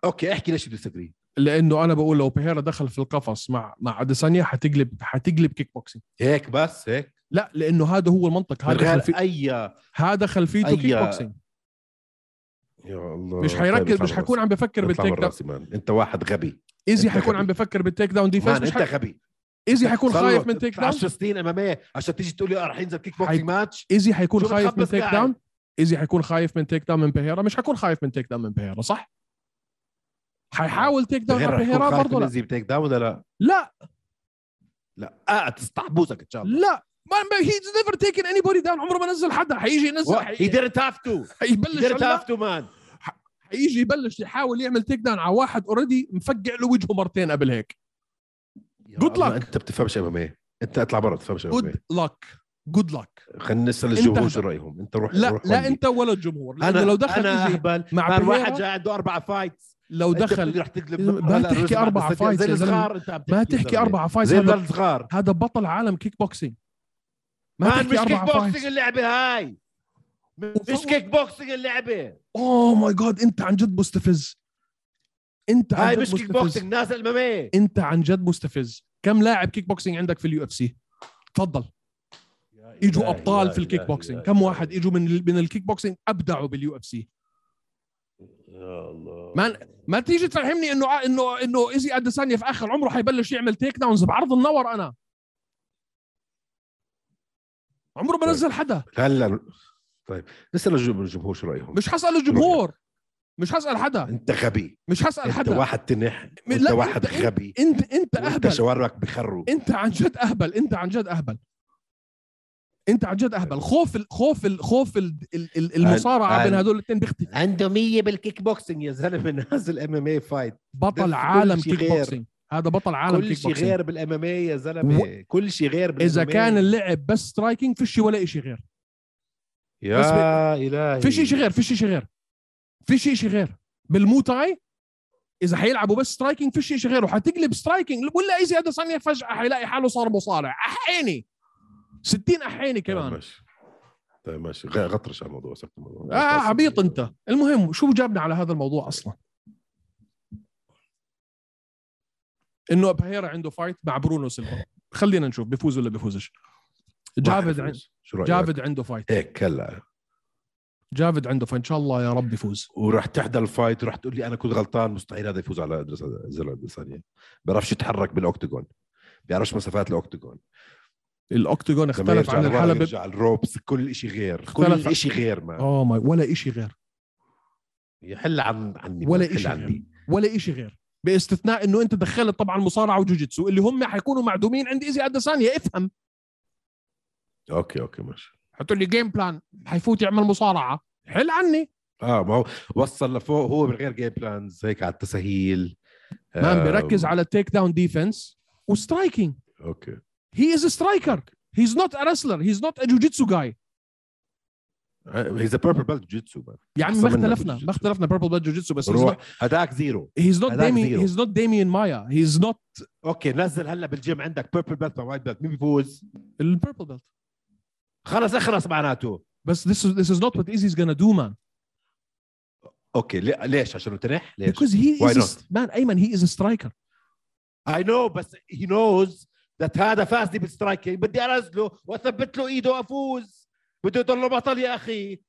C: اوكي احكي ليش بتسجري
B: لانه انا بقول لو بيهيرا دخل في القفص مع مع اديسانيا حتقلب حتقلب كيك بوكسينج
C: هيك بس هيك
B: لا لانه هذا هو المنطق
C: من
B: هذا
C: غير
B: خلفي...
C: اي
B: هذا خلفيته
C: أي-
B: كيك بوكسينج
C: يا الله طيب،
B: مش حيركز مش حيكون عم بفكر بالتيك داون
C: داون انت واحد غبي
B: ايزي
C: أنت
B: حيكون عم
C: غبي.
B: بفكر بالتيك داون ديفنس
C: مان
B: مش
C: انت
B: حي...
C: غبي
B: ايزي حيكون
C: صار له
B: خايف من تيك داون
C: 10 سنين اماميه عشان تيجي تقول لي اه رح ينزل كيك
B: حي-
C: بوكسينج ماتش
B: ايزي حيكون
C: شو يعني؟
B: خايف من
C: بتخبص
B: تيك
C: قاعد؟
B: داون ايزي حيكون خايف من تيك داون من بيهيرا مش حيكون خايف من تيك داون من بيهيرا صح؟ حيحاول تيك داون
C: غير
B: على
C: رح يكون
B: بيهيرا
C: خايف
B: برضه
C: من
B: لا
C: ينزل تيك داون ولا لا
B: لا
C: لا اه تستعب بوزك ان شاء الله
B: لا ما هيز نيفر تيكن اني بودي داون عمره ما نزل حدا حيجي ينزل
C: هي
B: حي-
C: didn't have to he
B: حيبلش
C: didn't
B: هلا
C: have to مان
B: حيجي يبلش يحاول يعمل تيك داون على واحد اوريدي مفقع له وجهه مرتين قبل هيك Good luck.
C: انت بتفهمش اماميه انت اطلع برا بتفهمش اماميه
B: جود لك جود لك
C: خلينا نسال
B: أنت
C: الجمهور
B: هبل.
C: شو رايهم انت روح
B: لا
C: روح
B: لا
C: قول لي.
B: انت ولا الجمهور لانه
C: انا
B: لو دخل
C: انا
B: إيزي
C: اهبل
B: مع
C: مان
B: بريرا-
C: واحد عنده اربع فايتس
B: لو دخل
C: رح تقلب
B: ما
C: مرة. لا،
B: تحكي
C: الرجل
B: أربع
C: بس
B: فايتس
C: زي
B: يا زلمة.
C: الصغار انت عم
B: ما
C: يا
B: تحكي
C: زلمة.
B: اربع فايز
C: زي
B: هذا
C: الولد الصغار
B: هذا بطل عالم كيك بوكسينج
C: مان مش
B: أربع
C: كيك بوكسينج
B: فايز.
C: اللعبه هاي مش
B: وفوق-
C: كيك بوكسينج اللعبه
B: اوه ماي جاد انت عن جد مستفز انت عن
C: هاي
B: جد
C: مش كيك
B: مستفز
C: بوكسينج نازل اماميه
B: انت عن جد مستفز كم لاعب كيك بوكسينج عندك في اليو اف سي تفضل اجوا ابطال في الكيك بوكسينج كم واحد اجوا من ال- من الكيك بوكسينج ابدعوا باليو اف سي
C: يا الله
B: مان- ما تيجي تفهمني انه ع- انه انه ايزي اديسانيا في اخر عمره حيبلش يعمل تيك داونز بعرض النور انا عمره ما
C: طيب.
B: نزل حدا
C: هلا طيب نسال الجم- الجمهور شو رايهم
B: مش حسأل الجمهور مش حسأل حدا
C: انت غبي
B: مش حسأل
C: انت
B: حدا
C: واحد تنح
B: م-
C: انت
B: لا،
C: واحد
B: أنت-
C: غبي
B: انت انت
C: انت
B: اهبل
C: شوارعك بخروا
B: انت عن جد اهبل انت عن جد اهبل انت عن جد اهبل خوف ال... خوف ال... خوف ال... ال- ال- المصارعه
C: عن-
B: بين هذول الاثنين بيختفي
C: عنده 100 بالكيك بوكسينج يا زلمه نازل ام ام اي فايت
B: بطل
C: كل
B: عالم
C: شي
B: كيك
C: غير.
B: بوكسينج هذا بطل عالم
C: كل
B: كيك
C: شيء
B: بوكسينج
C: غير بالام ام اي يا زلمه كل شيء غير إيه. بال
B: اذا
C: MMA.
B: كان اللعب بس سترايكنج فيش ولا شيء غير بس
C: يا الهي
B: في شيء شي غير في شيء شي غير في شيء شي غير بالموتاي اذا حيلعبوا بس سترايكنج في شيء شي غير وحتقلب سترايكنج ولا اي زياده ثانيه فجاه حيلاقي حاله صار مصارع احيني 60 احيني
C: طيب
B: كمان
C: ماشي طيب ماشي غ- غطرش على الموضوع سكت الموضوع
B: اه عبيط انت المهم شو جابنا على هذا الموضوع اصلا انه بهيرا عنده فايت مع برونو سيلفا خلينا نشوف بيفوز ولا بيفوزش جافد عن...
C: عند شو إيه، رايك
B: جافد عنده فايت
C: هيك هلا
B: جافد عنده فان شاء الله يا رب يفوز
C: وراح تحضر الفايت وراح تقول لي انا كنت غلطان مستحيل هذا يفوز على ادريس زر ادريسانيا بيعرفش يتحرك بالاوكتاجون بيعرفش مسافات الاوكتاجون
B: الاوكتاغون
C: لما
B: اختلف
C: يرجع
B: عن
C: لورا
B: الحلبة
C: يرجع الروبس كل شيء غير
B: اختلف
C: كل
B: عن-
C: شيء غير ما
B: اوه ماي Oh ولا إشي غير
C: يحل عن عني
B: ولا
C: يحل
B: إشي يعني.
C: عني
B: ولا إشي غير باستثناء انه انت دخلت طبعا مصارعه وجوجيتسو اللي هم حيكونوا معدومين عند ايزي اديسانيا افهم
C: اوكي اوكي ماشي
B: حطوا لي جيم بلان حيفوت يعمل مصارعه حل عني
C: اه ما هو وصل لفوق هو من غير جيم بلانز هيك على التسهيل
B: مان
C: آه،
B: بيركز على التيك داون ديفنس وسترايكينج
C: اوكي
B: هي از سترايكر هيز نوت ا رسلر هيز نوت ا جوجيتسو جاي
C: هيز ا بيربل بيلت جيتسو
B: يا عمي
C: أحسن
B: يعني ما اختلفنا
C: منه بالجوجيتسو.
B: ما اختلفنا بيربل بلاد جوجيتسو بس
C: روح هداك زيرو
B: هيز نوت
C: هذاك
B: ديمين
C: زيرو.
B: هيز نوت ديمين مايا هيز نوت
C: اوكي نزل هلا بالجيم عندك بيربل بيلت مع وايت بيلت مين بيفوز؟
B: البيربل بيلت
C: خلص اخلص معناته
B: بس this is this is not what Izzy's gonna do man
C: اوكي لي- ليش عشان تنح ليش؟
B: because he
C: Why
B: is a, man ايمن he is a striker
C: اي نو بس هي نوز ذات هذا فاز لي بالسترايكينج بدي انزله واثبت له ايده وافوز بده يضله بطل يا اخي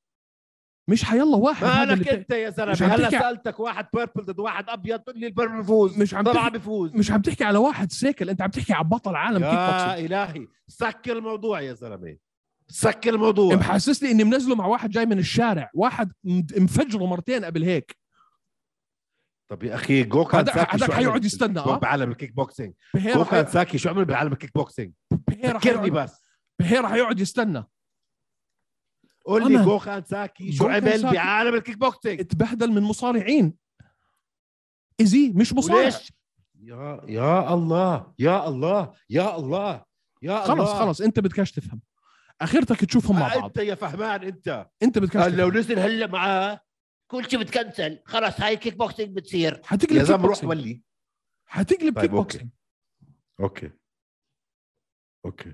B: مش حيلا واحد هذا
C: مالك
B: اللي
C: انت يا
B: مش
C: زلمه
B: عم
C: هلا
B: تحكي-
C: سالتك واحد بيربل ضد واحد ابيض قول لي البيربل بفوز
B: مش عم
C: طلع
B: تحكي-
C: بفوز
B: مش عم تحكي على واحد سيكل انت عم تحكي على بطل عالم كيك
C: يا
B: بوكسينج
C: الهي سكر الموضوع يا زلمه سكر الموضوع
B: محسسني اني منزله مع واحد جاي من الشارع واحد مد- مفجره مرتين قبل هيك
C: طب يا اخي جوكان
B: هذا
C: ساكي شو
B: هذاك حيقعد
C: عمل
B: يستنى
C: بال-
B: اه
C: بعالم الكيك بوكسينج
B: بهير
C: جوكان
B: رح-
C: ساكي شو عمل بعالم الكيك بوكسينج
B: بهير رح
C: ذكرني
B: يقعد-
C: بس
B: بهير رح يقعد يستنى
C: قول لي
B: أمان.
C: جوكان ساكي شو
B: جوكان
C: عمل
B: ساكي.
C: بعالم الكيك بوكسينج
B: اتبهدل من مصارعين ايزي مش مصارع
C: وليش؟ يا يا الله يا الله يا الله يا الله
B: خلص خلص انت بدكش تفهم اخرتك تشوفهم مع
C: آه،
B: بعض
C: انت يا فهمان انت
B: انت بدكش
C: آه، لو
B: تفهم.
C: نزل هلا معاه
D: كل شيء بتكنسل خلص هاي كيك بوكسينج بتصير
C: يا
B: حتقلب كيك
C: زلمه روح
B: بوكسينج
C: ولي
B: حتقلب
C: طيب،
B: كيك
C: أوكي.
B: بوكسينج
C: اوكي اوكي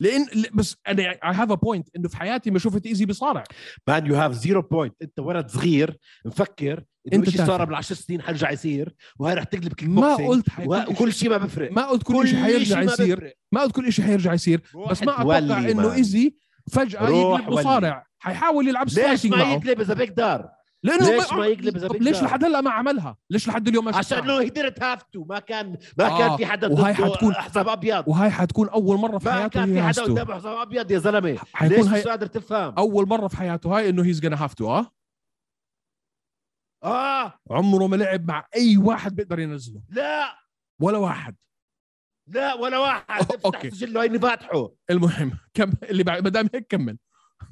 B: لان ل- بس انا اي هاف ا بوينت انه في حياتي ما شفت ايزي بيصارع
C: مان يو هاف زيرو بوينت انت ولد صغير مفكر انه
B: أنت
C: شيء
B: تافه.
C: صار من 10 سنين حرجع يصير وهي رح تقلب كيك
B: ما
C: بوكسينج
B: قلت
C: وه-
B: حيكون
C: وكل
B: كل
C: شيء ما بفرق
B: ما قلت كل شيء حيرجع يصير ما قلت كل شيء حيرجع يصير بس ما اتوقع انه ايزي فجاه
C: روح
B: يقلب مصارع حيحاول يلعب
C: ليش
B: سترايكنج
C: ما
B: معه
C: يقلب اذا بيقدر
B: لانه
C: ليش ما يقلب إذا
B: طب
C: بيقدر؟
B: ليش لحد هلا ما عملها ليش لحد اليوم ما
C: عشان
B: شفتها؟
C: انه قدرت هافتو ما كان ما
B: آه،
C: كان في حدا
B: وهاي
C: ضده
B: حتكون-
C: حساب ابيض
B: وهاي حتكون اول مره في
C: ما
B: حياته
C: كان
B: هي
C: في حدا
B: هاستو.
C: قدامه حساب ابيض يا زلمه ليش
B: حيكون
C: مش
B: هاي
C: قادر تفهم
B: اول مره في حياته هاي انه هيز gonna هاف تو اه
C: اه
B: عمره ما لعب مع اي واحد بيقدر ينزله
C: لا
B: ولا واحد
C: لا ولا واحد افتح
B: أوكي.
C: سجله هيني فاتحه
B: المهم كم اللي بعد ما دام هيك كمل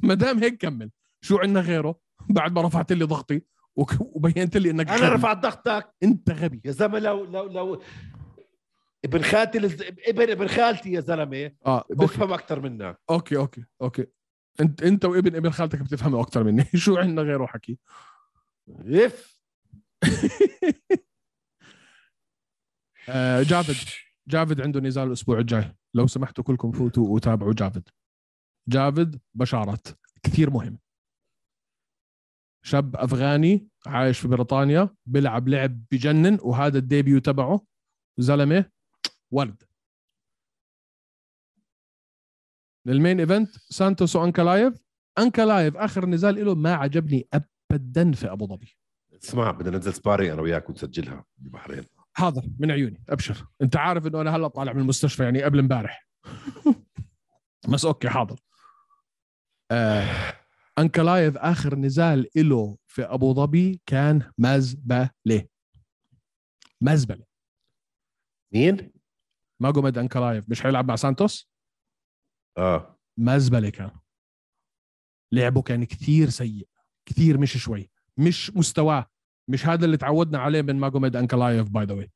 B: ما دام هيك كمل شو عندنا غيره بعد ما رفعت لي ضغطي وك- وبينت لي انك
C: انا
B: غبي.
C: رفعت ضغطك
B: انت غبي
C: يا زلمه لو لو لو ابن خالتي لز... ابن ابن خالتي يا زلمه
B: اه اوكي
C: بفهم اكثر منك
B: اوكي اوكي اوكي انت انت وابن ابن خالتك بتفهموا اكثر مني شو عندنا غيره حكي
C: اف
B: آه جافد جافد عنده نزال الاسبوع الجاي لو سمحتوا كلكم فوتوا وتابعوا جافد جافد بشارت كثير مهم شاب افغاني عايش في بريطانيا بيلعب لعب بجنن وهذا الديبيو تبعه زلمه ورد للمين ايفنت سانتوس وانكلايف انكلايف اخر نزال له ما عجبني ابدا في ابو ظبي
C: اسمع بدنا ننزل سباري انا وياك ونسجلها بالبحرين
B: حاضر من عيوني ابشر انت عارف انه انا هلا طالع من المستشفى يعني قبل امبارح بس اوكي حاضر آه انكلايف اخر نزال إله في ابو ظبي كان مزبله مزبله
C: مين؟
B: ماجوميد انكلايف مش حيلعب مع سانتوس
C: اه
B: مزبله كان لعبه كان كثير سيء كثير مش شوي مش مستواه مش هذا اللي تعودنا عليه من ماجوميد انكلايف باي ذا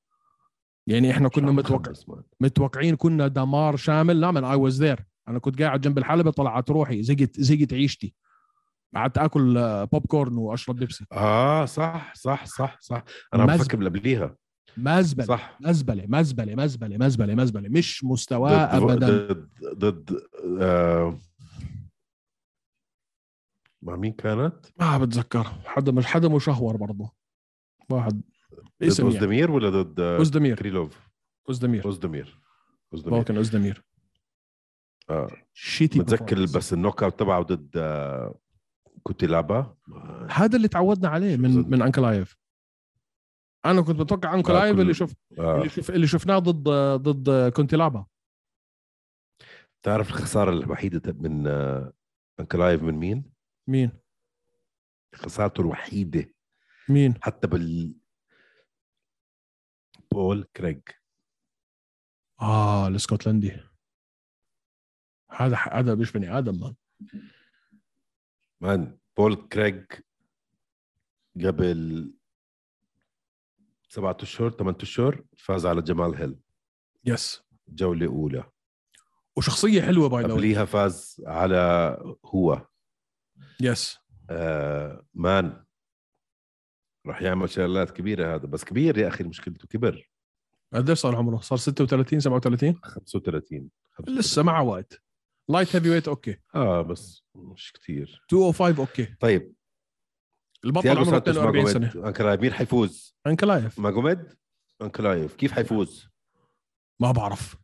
B: يعني احنا كنا متوقع
C: متوقع
B: متوقعين كنا دمار شامل لا من اي واز ذير انا كنت قاعد جنب الحلبه طلعت روحي زقت زقت عيشتي قعدت اكل آه، بوب كورن واشرب بيبسي
C: اه صح صح صح صح انا عم
B: مز-
C: بفكر بالقبليها
B: مزبله
C: صح
B: مزبله مزبله مزبله مزبله مزبله مش مستواه
C: ضد-
B: ابدا
C: ضد ضد آه، مع مين كانت؟
B: ما بتذكر حدا مش حدا مشهور برضه واحد
C: ضد
B: اسم يعني.
C: اوزدمير ولا ضد آه،
B: اوزدمير
C: كريلوف؟
B: اوزدمير
C: اوزدمير اوزدمير
B: ممكن اوزدمير شيتي
C: آه. متذكر
B: performance.
C: بس النوك اوت تبعه ضد آه، كوتيلابا ما-
B: هذا اللي تعودنا عليه من من انكلايف انا كنت بتوقع انكلايف
C: كل-
B: اللي شفت
C: آه.
B: اللي شوف اللي شفناه ضد ضد كونتيلابا
C: تعرف الخساره الوحيده من آه، انكلايف من مين؟
B: مين
C: خسارته الوحيده
B: مين
C: حتى بال بول كريج
B: اه الاسكتلندي هذا هذا مش بني ادم مان
C: مان بول كريج قبل سبعة اشهر ثمان اشهر فاز على جمال هيل
B: يس
C: جوله اولى
B: وشخصيه حلوه باي ذا
C: قبليها فاز على هو
B: يس
C: آه مان راح يعمل شغلات كبيره هذا بس كبير يا اخي مشكلته كبر
B: قديش صار عمره؟ صار 36 37
C: 35
B: لسه معه وقت لايت هيفي ويت اوكي
C: اه بس مش كثير
B: 205 اوكي
C: طيب
B: oh البطل
C: تياغو
B: عمره
C: سانتوس
B: 42
C: ماجوميد
B: سنه
C: انكلايف مين حيفوز؟
B: انكلايف
C: ماجوميد انكلايف كيف حيفوز؟
B: ما بعرف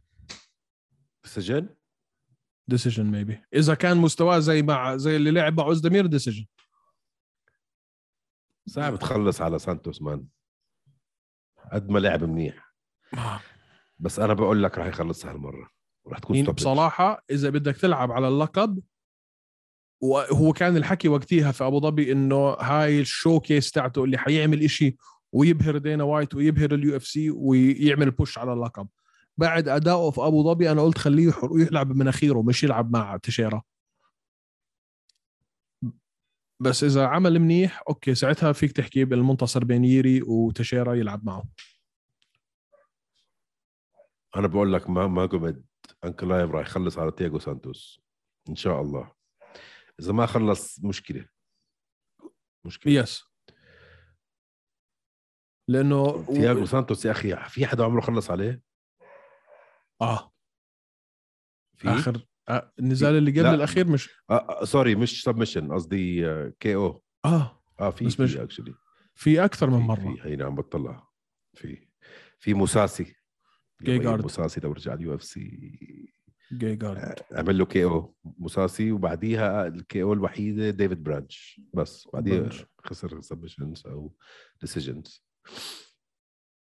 C: بالسجن؟
B: ديسيجن ميبي اذا كان مستواه زي مع زي اللي لعب مع اوزدمير ديسيجن
C: صعب تخلص على سانتوس مان قد ما لعب منيح بس انا بقول لك راح يخلصها هالمره راح تكون
B: يعني
C: stoppage.
B: بصراحه اذا بدك تلعب على اللقب وهو كان الحكي وقتها في ابو ظبي انه هاي الشو كيس تاعته اللي حيعمل إشي ويبهر دينا وايت ويبهر اليو اف سي ويعمل بوش على اللقب بعد اداؤه في ابو ظبي انا قلت خليه يحر- يلعب بمناخيره مش يلعب مع تشيرا بس اذا عمل منيح اوكي ساعتها فيك تحكي بالمنتصر بين ييري وتشيرا يلعب معه
C: انا بقول لك ما ما قمت انكلايف راح يخلص على تياغو سانتوس ان شاء الله اذا ما خلص مشكله مشكله
B: يس لانه
C: تياغو سانتوس يا اخي في حدا عمره خلص عليه
B: اه
C: في
B: اخر آه النزال اللي قبل
C: لا.
B: الاخير مش
C: آه، آه سوري مش سبمشن قصدي آه، كي او
B: اه
C: اه في
B: بس مش-
C: في اكشلي
B: في اكثر من مره
C: في هينا عم بطلع في في موساسي
B: جيجارد.
C: موساسي لو رجع اليو اف سي
B: جيجارد
C: عمل له كي او موساسي وبعديها الكي او الوحيده ديفيد برانش بس بعديها
B: برانش.
C: خسر سبشنز او ديسيجنز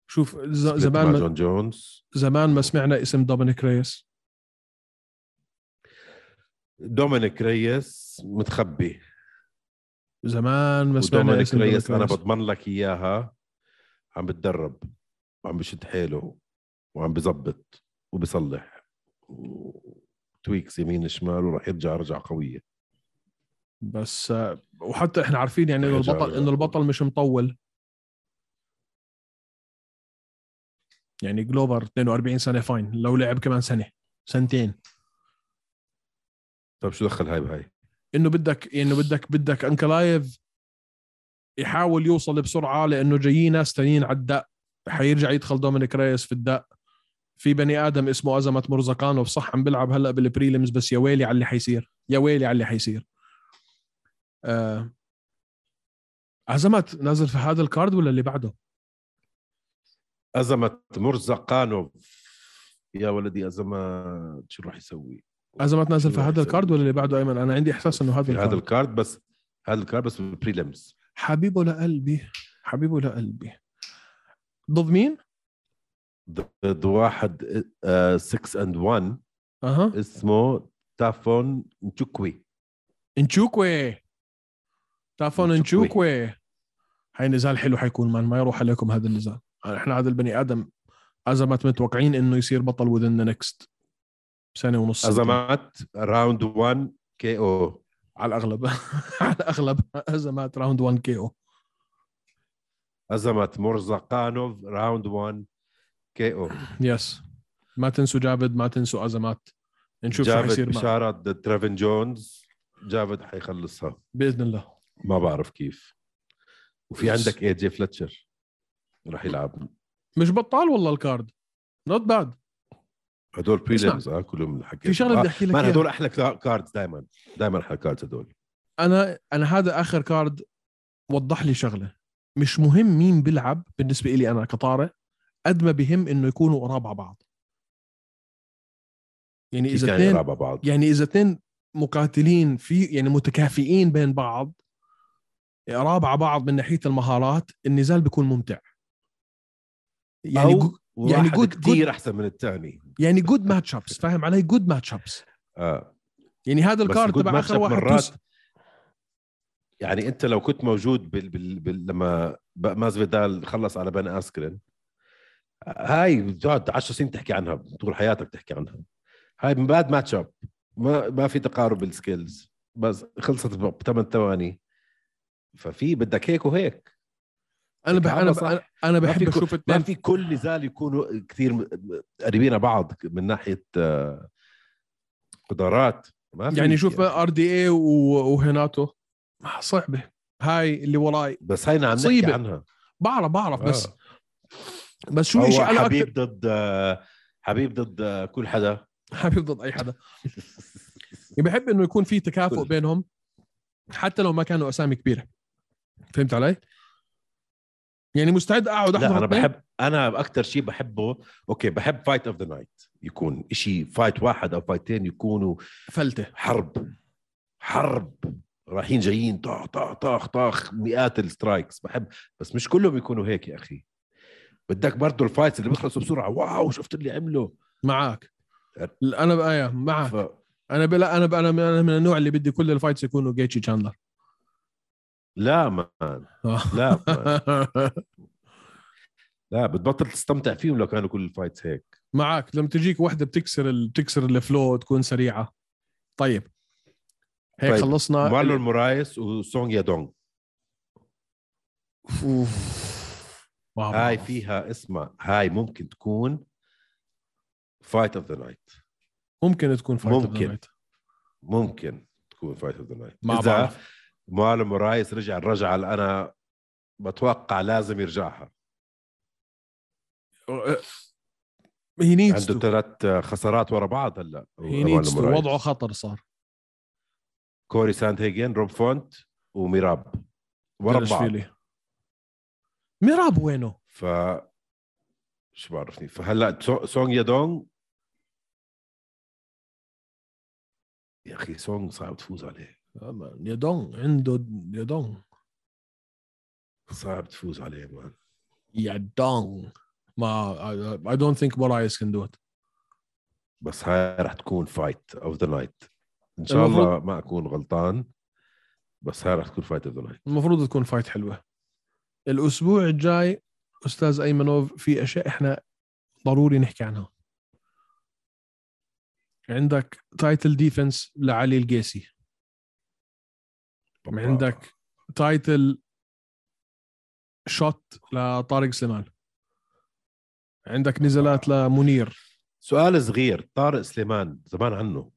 B: شوف ز- زمان
C: زمان
B: ما
C: جون جونز
B: زمان ما سمعنا اسم دومينيك ريس
C: دومينيك ريس متخبي
B: زمان ما سمعنا
C: ودومينيك
B: اسم
C: ريس انا بضمن لك اياها عم بتدرب وعم بشد حيله وعم بزبط وبصلح تويكس يمين شمال وراح يرجع رجعه قويه
B: بس آه، وحتى احنا عارفين يعني انه
C: رجع-
B: البطل
C: رجع.
B: انه البطل مش مطول يعني جلوبر 42 سنه فاين لو لعب كمان سنه سنتين
C: طيب شو دخل هاي بهاي؟
B: انه بدك انه بدك بدك انكلايف يحاول يوصل بسرعه لانه جايين ناس تانيين على الدق حيرجع يدخل دومينيك ريس في الدق في بني ادم اسمه ازمه مرزقانوف صح عم بيلعب هلا بالبريلمز بس يا ويلي على اللي حيصير يا ويلي على اللي حيصير آه. ازمت نازل في هذا الكارد ولا اللي بعده؟
C: أزمة مرزقانوف يا ولدي أزمة شو راح يسوي؟
B: ازمت نازل في
C: شو راح
B: هذا الكارد
C: يسوي؟
B: ولا اللي بعده ايمن؟ انا عندي احساس انه هذا
C: في
B: الكارد
C: هذا الكارد بس هذا الكارد بس بالبريلمز
B: حبيبه لقلبي حبيبه لقلبي ضد مين؟
C: ضد واحد آه، 6 اند 1
B: اها
C: اسمه تافون نتشكوي
B: انشوكوي تعرفون
C: انشوكوي.
B: انشوكوي هاي نزال حلو حيكون مان ما يروح عليكم هذا النزال احنا هذا البني ادم ازمات متوقعين انه يصير بطل within the next سنه ونص
C: أزمات راوند 1 كي أو
B: على الاغلب على الاغلب ازمات راوند 1 كي او
C: أزمة مرزقانوف راوند 1 كي أو
B: يس ما تنسوا جافد ما تنسوا ازمات نشوف شو
C: جافد
B: حيصير معه.
C: بشارة ضد تريفن جونز جافد حيخلصها
B: باذن الله
C: ما بعرف كيف وفي
B: بس.
C: عندك اي جي فلتشر راح يلعب
B: مش بطال والله الكارد نوت باد
C: هدول
B: اسمع.
C: بريلمز اه كلهم اللي حكيت
B: في شغله بدي احكي لك إياها.
C: مان
B: يعني
C: هدول احلى كلا- كاردز دائما دائما احلى كاردز هدول
B: انا انا هذا اخر كارد وضح لي شغله مش مهم مين بيلعب بالنسبه لي انا كطارق قد ما بهم انه يكونوا قراب على بعض يعني
C: كيف
B: اذا
C: يعني
B: اثنين
C: يلعبوا بعض
B: يعني اذا اثنين مقاتلين في يعني متكافئين بين بعض قراب على بعض من ناحيه المهارات النزال بيكون ممتع يعني
C: أو
B: جو- يعني
C: يعني
B: good-
C: جود كثير احسن من الثاني
B: يعني جود ماتش ابس فاهم علي جود ماتش ابس
C: اه
B: يعني هذا
C: بس
B: الكارد
C: good
B: تبع اخر
C: matchup
B: واحد
C: مرات
B: بوس-
C: يعني انت لو كنت موجود بال... بال... بال... لما مازفيدال خلص على بن اسكرين هاي بتقعد 10 سنين تحكي عنها طول حياتك تحكي عنها هاي من بعد ماتش اب ما ما في تقارب بالسكيلز بس خلصت بثمان ثواني ففي بدك هيك وهيك
B: انا بح... انا
C: صح.
B: ب... انا
C: ما
B: بحب
C: في كو-
B: اشوف
C: ما
B: اثنين
C: في كل نزال يكونوا كثير م- م- قريبين على بعض من ناحيه آه، قدرات ما في
B: يعني شوف ار دي اي وهيناتو مع صعبه هاي اللي وراي
C: بس هينا عم نحكي
B: صيبة.
C: عنها
B: بعرف بعرف بس
C: آه.
B: بس شو
C: شو
B: الشيء
C: هو
B: انا اكثر
C: حبيب ضد آه، حبيب ضد آه، كل حدا
B: حبيب ضد اي حدا يعني بحب انه يكون في تكافؤ
C: كل.
B: بينهم حتى لو ما كانوا اسامي كبيره فهمت علي؟ يعني مستعد اقعد احضر
C: لا انا
B: اثنين.
C: بحب انا اكثر شيء بحبه اوكي بحب فايت اوف ذا نايت يكون شيء فايت واحد او فايتين يكونوا
B: فلته
C: حرب حرب رايحين جايين طخ طخ طخ طخ مئات السترايكس بحب بس مش كلهم يكونوا هيك يا اخي بدك برضه الفايتس اللي بيخلصوا بسرعه واو شفت اللي عمله
B: معك انا بقى يا- معك
C: ف...
B: انا بلا انا بقى انا من- أنا من النوع اللي بدي كل الفايتس يكونوا جيتشي تشاندلر
C: لا مان
B: آه.
C: لا مان. لا بتبطل تستمتع فيهم لو كانوا كل الفايتس هيك
B: معك لما تجيك واحده بتكسر ال... بتكسر الفلو تكون سريعه طيب هيك
C: طيب.
B: خلصنا
C: مارلون مورايس وسونج يادونغ
B: أوف. ما
C: هاي
B: بعرف.
C: فيها اسمها هاي ممكن تكون فايت اوف ذا نايت
B: ممكن تكون فايت أوف ذا
C: ممكن.
B: نايت.
C: ممكن تكون فايت اوف ذا نايت
B: ما
C: اذا
B: بعرف
C: مارلون مورايس رجع الرجعه اللي انا بتوقع لازم يرجعها
B: هي نيدز
C: عنده ثلاث خسارات ورا بعض هلا
B: هي
C: مارلون
B: نيدز
C: مورايس.
B: وضعه خطر صار
C: كوري ساند هيجن روب فونت وميراب ورا بعض
B: دلشفيلي. ميراب وينه؟
C: ف شو بعرفني فهلا سو- سونغ يادونغ يا اخي سونغ صعب تفوز عليه
B: يدون عنده يدون
C: صعب تفوز عليه مان
B: يدون ما I don't think Morais can do it
C: بس هاي رح تكون فايت اوف ذا نايت ان شاء
B: المفروض-
C: الله ما اكون غلطان بس هاي رح تكون فايت اوف ذا نايت
B: المفروض تكون فايت حلوة الأسبوع الجاي أستاذ أيمنوف في أشياء إحنا ضروري نحكي عنها عندك تايتل ديفنس لعلي القيسي عندك تايتل شوت لطارق سليمان عندك نزلات لمنير
C: سؤال صغير طارق سليمان زمان عنه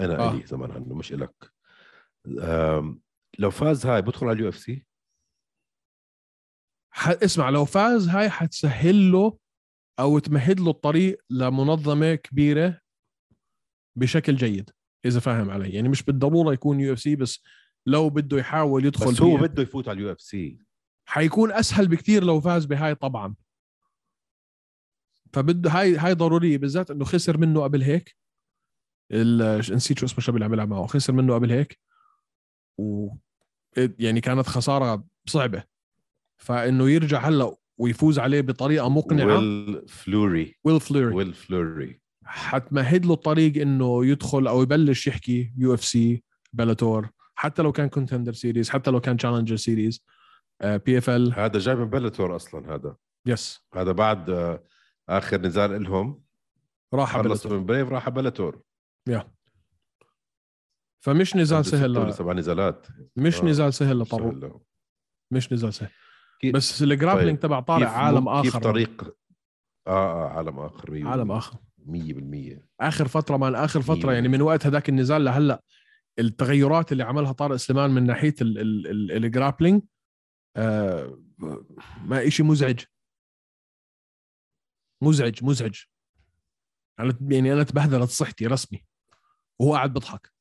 C: انا
B: آه.
C: آه. الي زمان عنه مش الك أم، لو فاز هاي بدخل على اليو اف سي
B: ح... اسمع لو فاز هاي حتسهل له او تمهد له الطريق لمنظمه كبيره بشكل جيد اذا فاهم علي يعني مش بالضروره يكون يو اف سي بس لو بده يحاول يدخل
C: بس هو
B: بيه،
C: بده يفوت على اليو اف سي
B: حيكون اسهل بكتير لو فاز بهاي طبعا فبده هاي هاي ضروريه بالذات انه خسر منه قبل هيك ال- ش- نسيت شو اسمه الشاب اللي عم يلعب معه خسر منه قبل هيك و يعني كانت خساره صعبه فانه يرجع هلا ويفوز عليه بطريقه مقنعه
C: ويل فلوري
B: ويل فليري
C: ويل فلوري
B: حتمهد له الطريق انه يدخل او يبلش يحكي يو اف سي بلاتور حتى لو كان كونتندر سيريز حتى لو كان آه، تشالنجر سيريز بي اف ال
C: هذا جاي من بلاتور اصلا هذا
B: يس
C: هذا بعد آه، اخر نزال لهم
B: راح على
C: خلص
B: بلاتور.
C: من بريف راح على بلاتور
B: يا فمش نزال سهل
C: عنده ست ولا
B: ل-
C: سبع نزالات
B: مش
C: آه،
B: نزال سهل لطارق
C: طبعا
B: مش نزال سهل
C: كيف-
B: بس الجرابلينج
C: طيب.
B: تبع طارق
C: كيف
B: عالم
C: مم- كيف
B: اخر
C: طريق اه اه عالم اخر مية
B: عالم اخر
C: 100%
B: اخر فتره من اخر فتره
C: مية
B: يعني من وقت هذاك النزال لهلا التغيرات اللي عملها طارق سليمان من ناحيه ال- ال- ال- الجرابلينج آه، ما إشي مزعج مزعج مزعج أنا ت- يعني انا تبهدلت صحتي رسمي وهو قاعد بضحك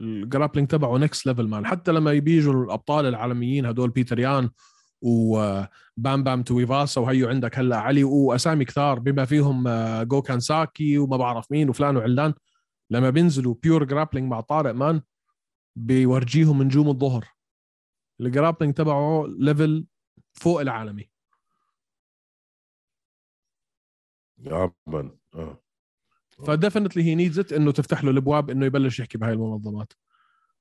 B: الجرابلينج تبعه نكس ليفل مان حتى لما بيجوا الابطال العالميين هدول بيتر يان آه، وبام بام تويفاسا وهيو عندك هلا علي واسامي كثار بما فيهم آه، جو كانساكي وما بعرف مين وفلان وعلان لما بينزلوا بيور جرابلينج مع طارق مان بيورجيهم نجوم الظهر الجرابلينج تبعه ليفل فوق العالمي
C: اه من اه
B: فديفنتلي هي نيدز ات انه تفتح له الابواب انه يبلش يحكي بهاي المنظمات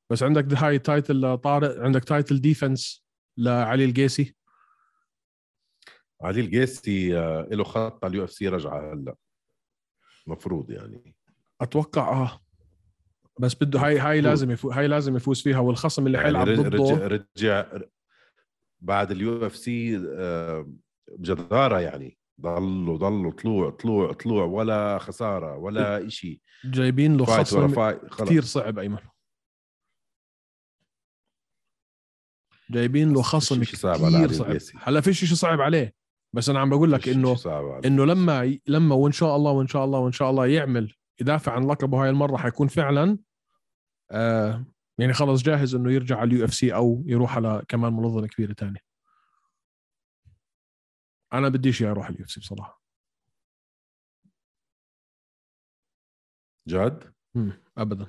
B: بس عندك هاي تايتل لطارق عندك تايتل ديفنس لعلي القيسي
C: علي القيسي آه، له خط على اليو اف سي رجعه هلا مفروض يعني
B: اتوقع اه بس بده هاي هاي لازم يفو هاي لازم يفوز فيها والخصم اللي
C: يعني
B: حيلعب
C: رج-
B: ضده
C: رجع, رجع بعد اليو اف سي بجداره يعني ضلوا ضلوا طلوع طلوع طلوع ولا خساره ولا شيء
B: جايبين له
C: فايت ورا
B: خصم
C: فايت خلص
B: كثير صعب ايمن جايبين له خصم
C: فيش شي صعب على
B: كثير
C: علي
B: صعب
C: القيسي.
B: هلا فيش شيء صعب عليه بس انا عم بقول لك
C: شي-
B: انه
C: شي صعب عليه.
B: انه لما لما وان شاء الله وان شاء الله وان شاء الله يعمل يدافع عن لقبه هاي المره حيكون فعلا آه يعني خلص جاهز انه يرجع على اليو اف سي او يروح على كمان منظمه كبيره تانية انا بديش اياه يروح اليو اف سي بصراحه
C: جد
B: مم. ابدا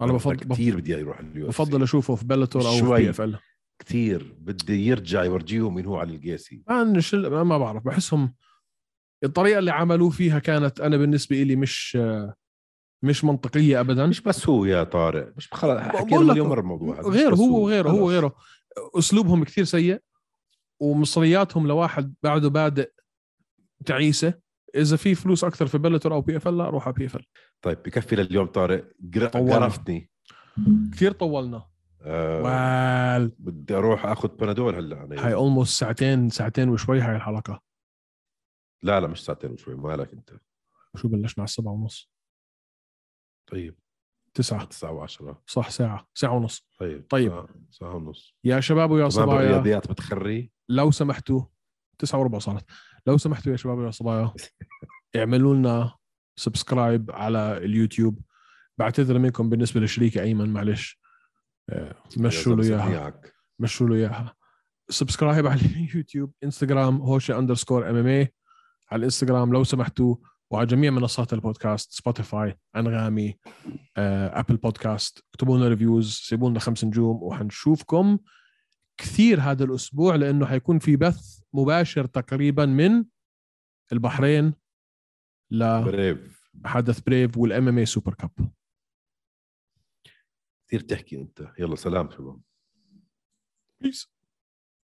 B: انا بفضل
C: كثير بدي يروح اليو اف سي
B: بفضل اشوفه في بلاتور او في
C: شوي.
B: بي اف ال
C: كثير بدي يرجع يورجيهم مين هو علي القيسي
B: ما نشل- ما ما بعرف بحسهم الطريقه اللي عملوه فيها كانت انا بالنسبه لي مش آه، مش منطقيه ابدا
C: مش بس هو يا طارق مش خلص حكينا
B: بقول لك
C: مليون مره الموضوع هذا مش
B: غير
C: بس
B: هو وغيره
C: خلص.
B: هو وغيره اسلوبهم كثير سيء ومصرياتهم لواحد بعده بادئ تعيسه اذا في فلوس اكثر في بلتر او بي اف ال لا روح على بي اف ال
C: طيب بكفي لليوم طارق قر-
B: طولنا.
C: قرفتني
B: كثير طولنا
C: آه إيه.
B: وال
C: بدي اروح اخذ بنادول هلا انا
B: هاي اولموست ساعتين ساعتين وشوي هاي الحلقه
C: لا لا مش ساعتين وشوي مالك انت
B: شو بلشنا على السبعة ونص
C: طيب
B: تسعة
C: 9 و10
B: صح ساعة ساعة ونص
C: طيب
B: طيب.
C: ساعة- ساعه ونص
B: يا شباب ويا
C: ما
B: صبايا
C: بالرياضيات بتخري
B: لو سمحتوا تسعة وربع صارت لو سمحتوا يا شباب ويا صبايا اعملوا لنا سبسكرايب على اليوتيوب بعتذر منكم بالنسبه لشريكي ايمن معلش آه، مشوا له اياها
C: اياها
B: مشوا له اياها سبسكرايب على اليوتيوب انستغرام هوشه اندرسكور ام ام اي على الانستغرام لو سمحتوا وعلى جميع منصات البودكاست سبوتيفاي انغامي آه، ابل بودكاست اكتبوا لنا ريفيوز سيبوا لنا خمس نجوم وحنشوفكم كثير هذا الاسبوع لانه حيكون في بث مباشر تقريبا من البحرين
C: بريف
B: لحدث بريف والام ام اي سوبر كاب
C: كثير بتحكي انت يلا سلام شباب
B: بيس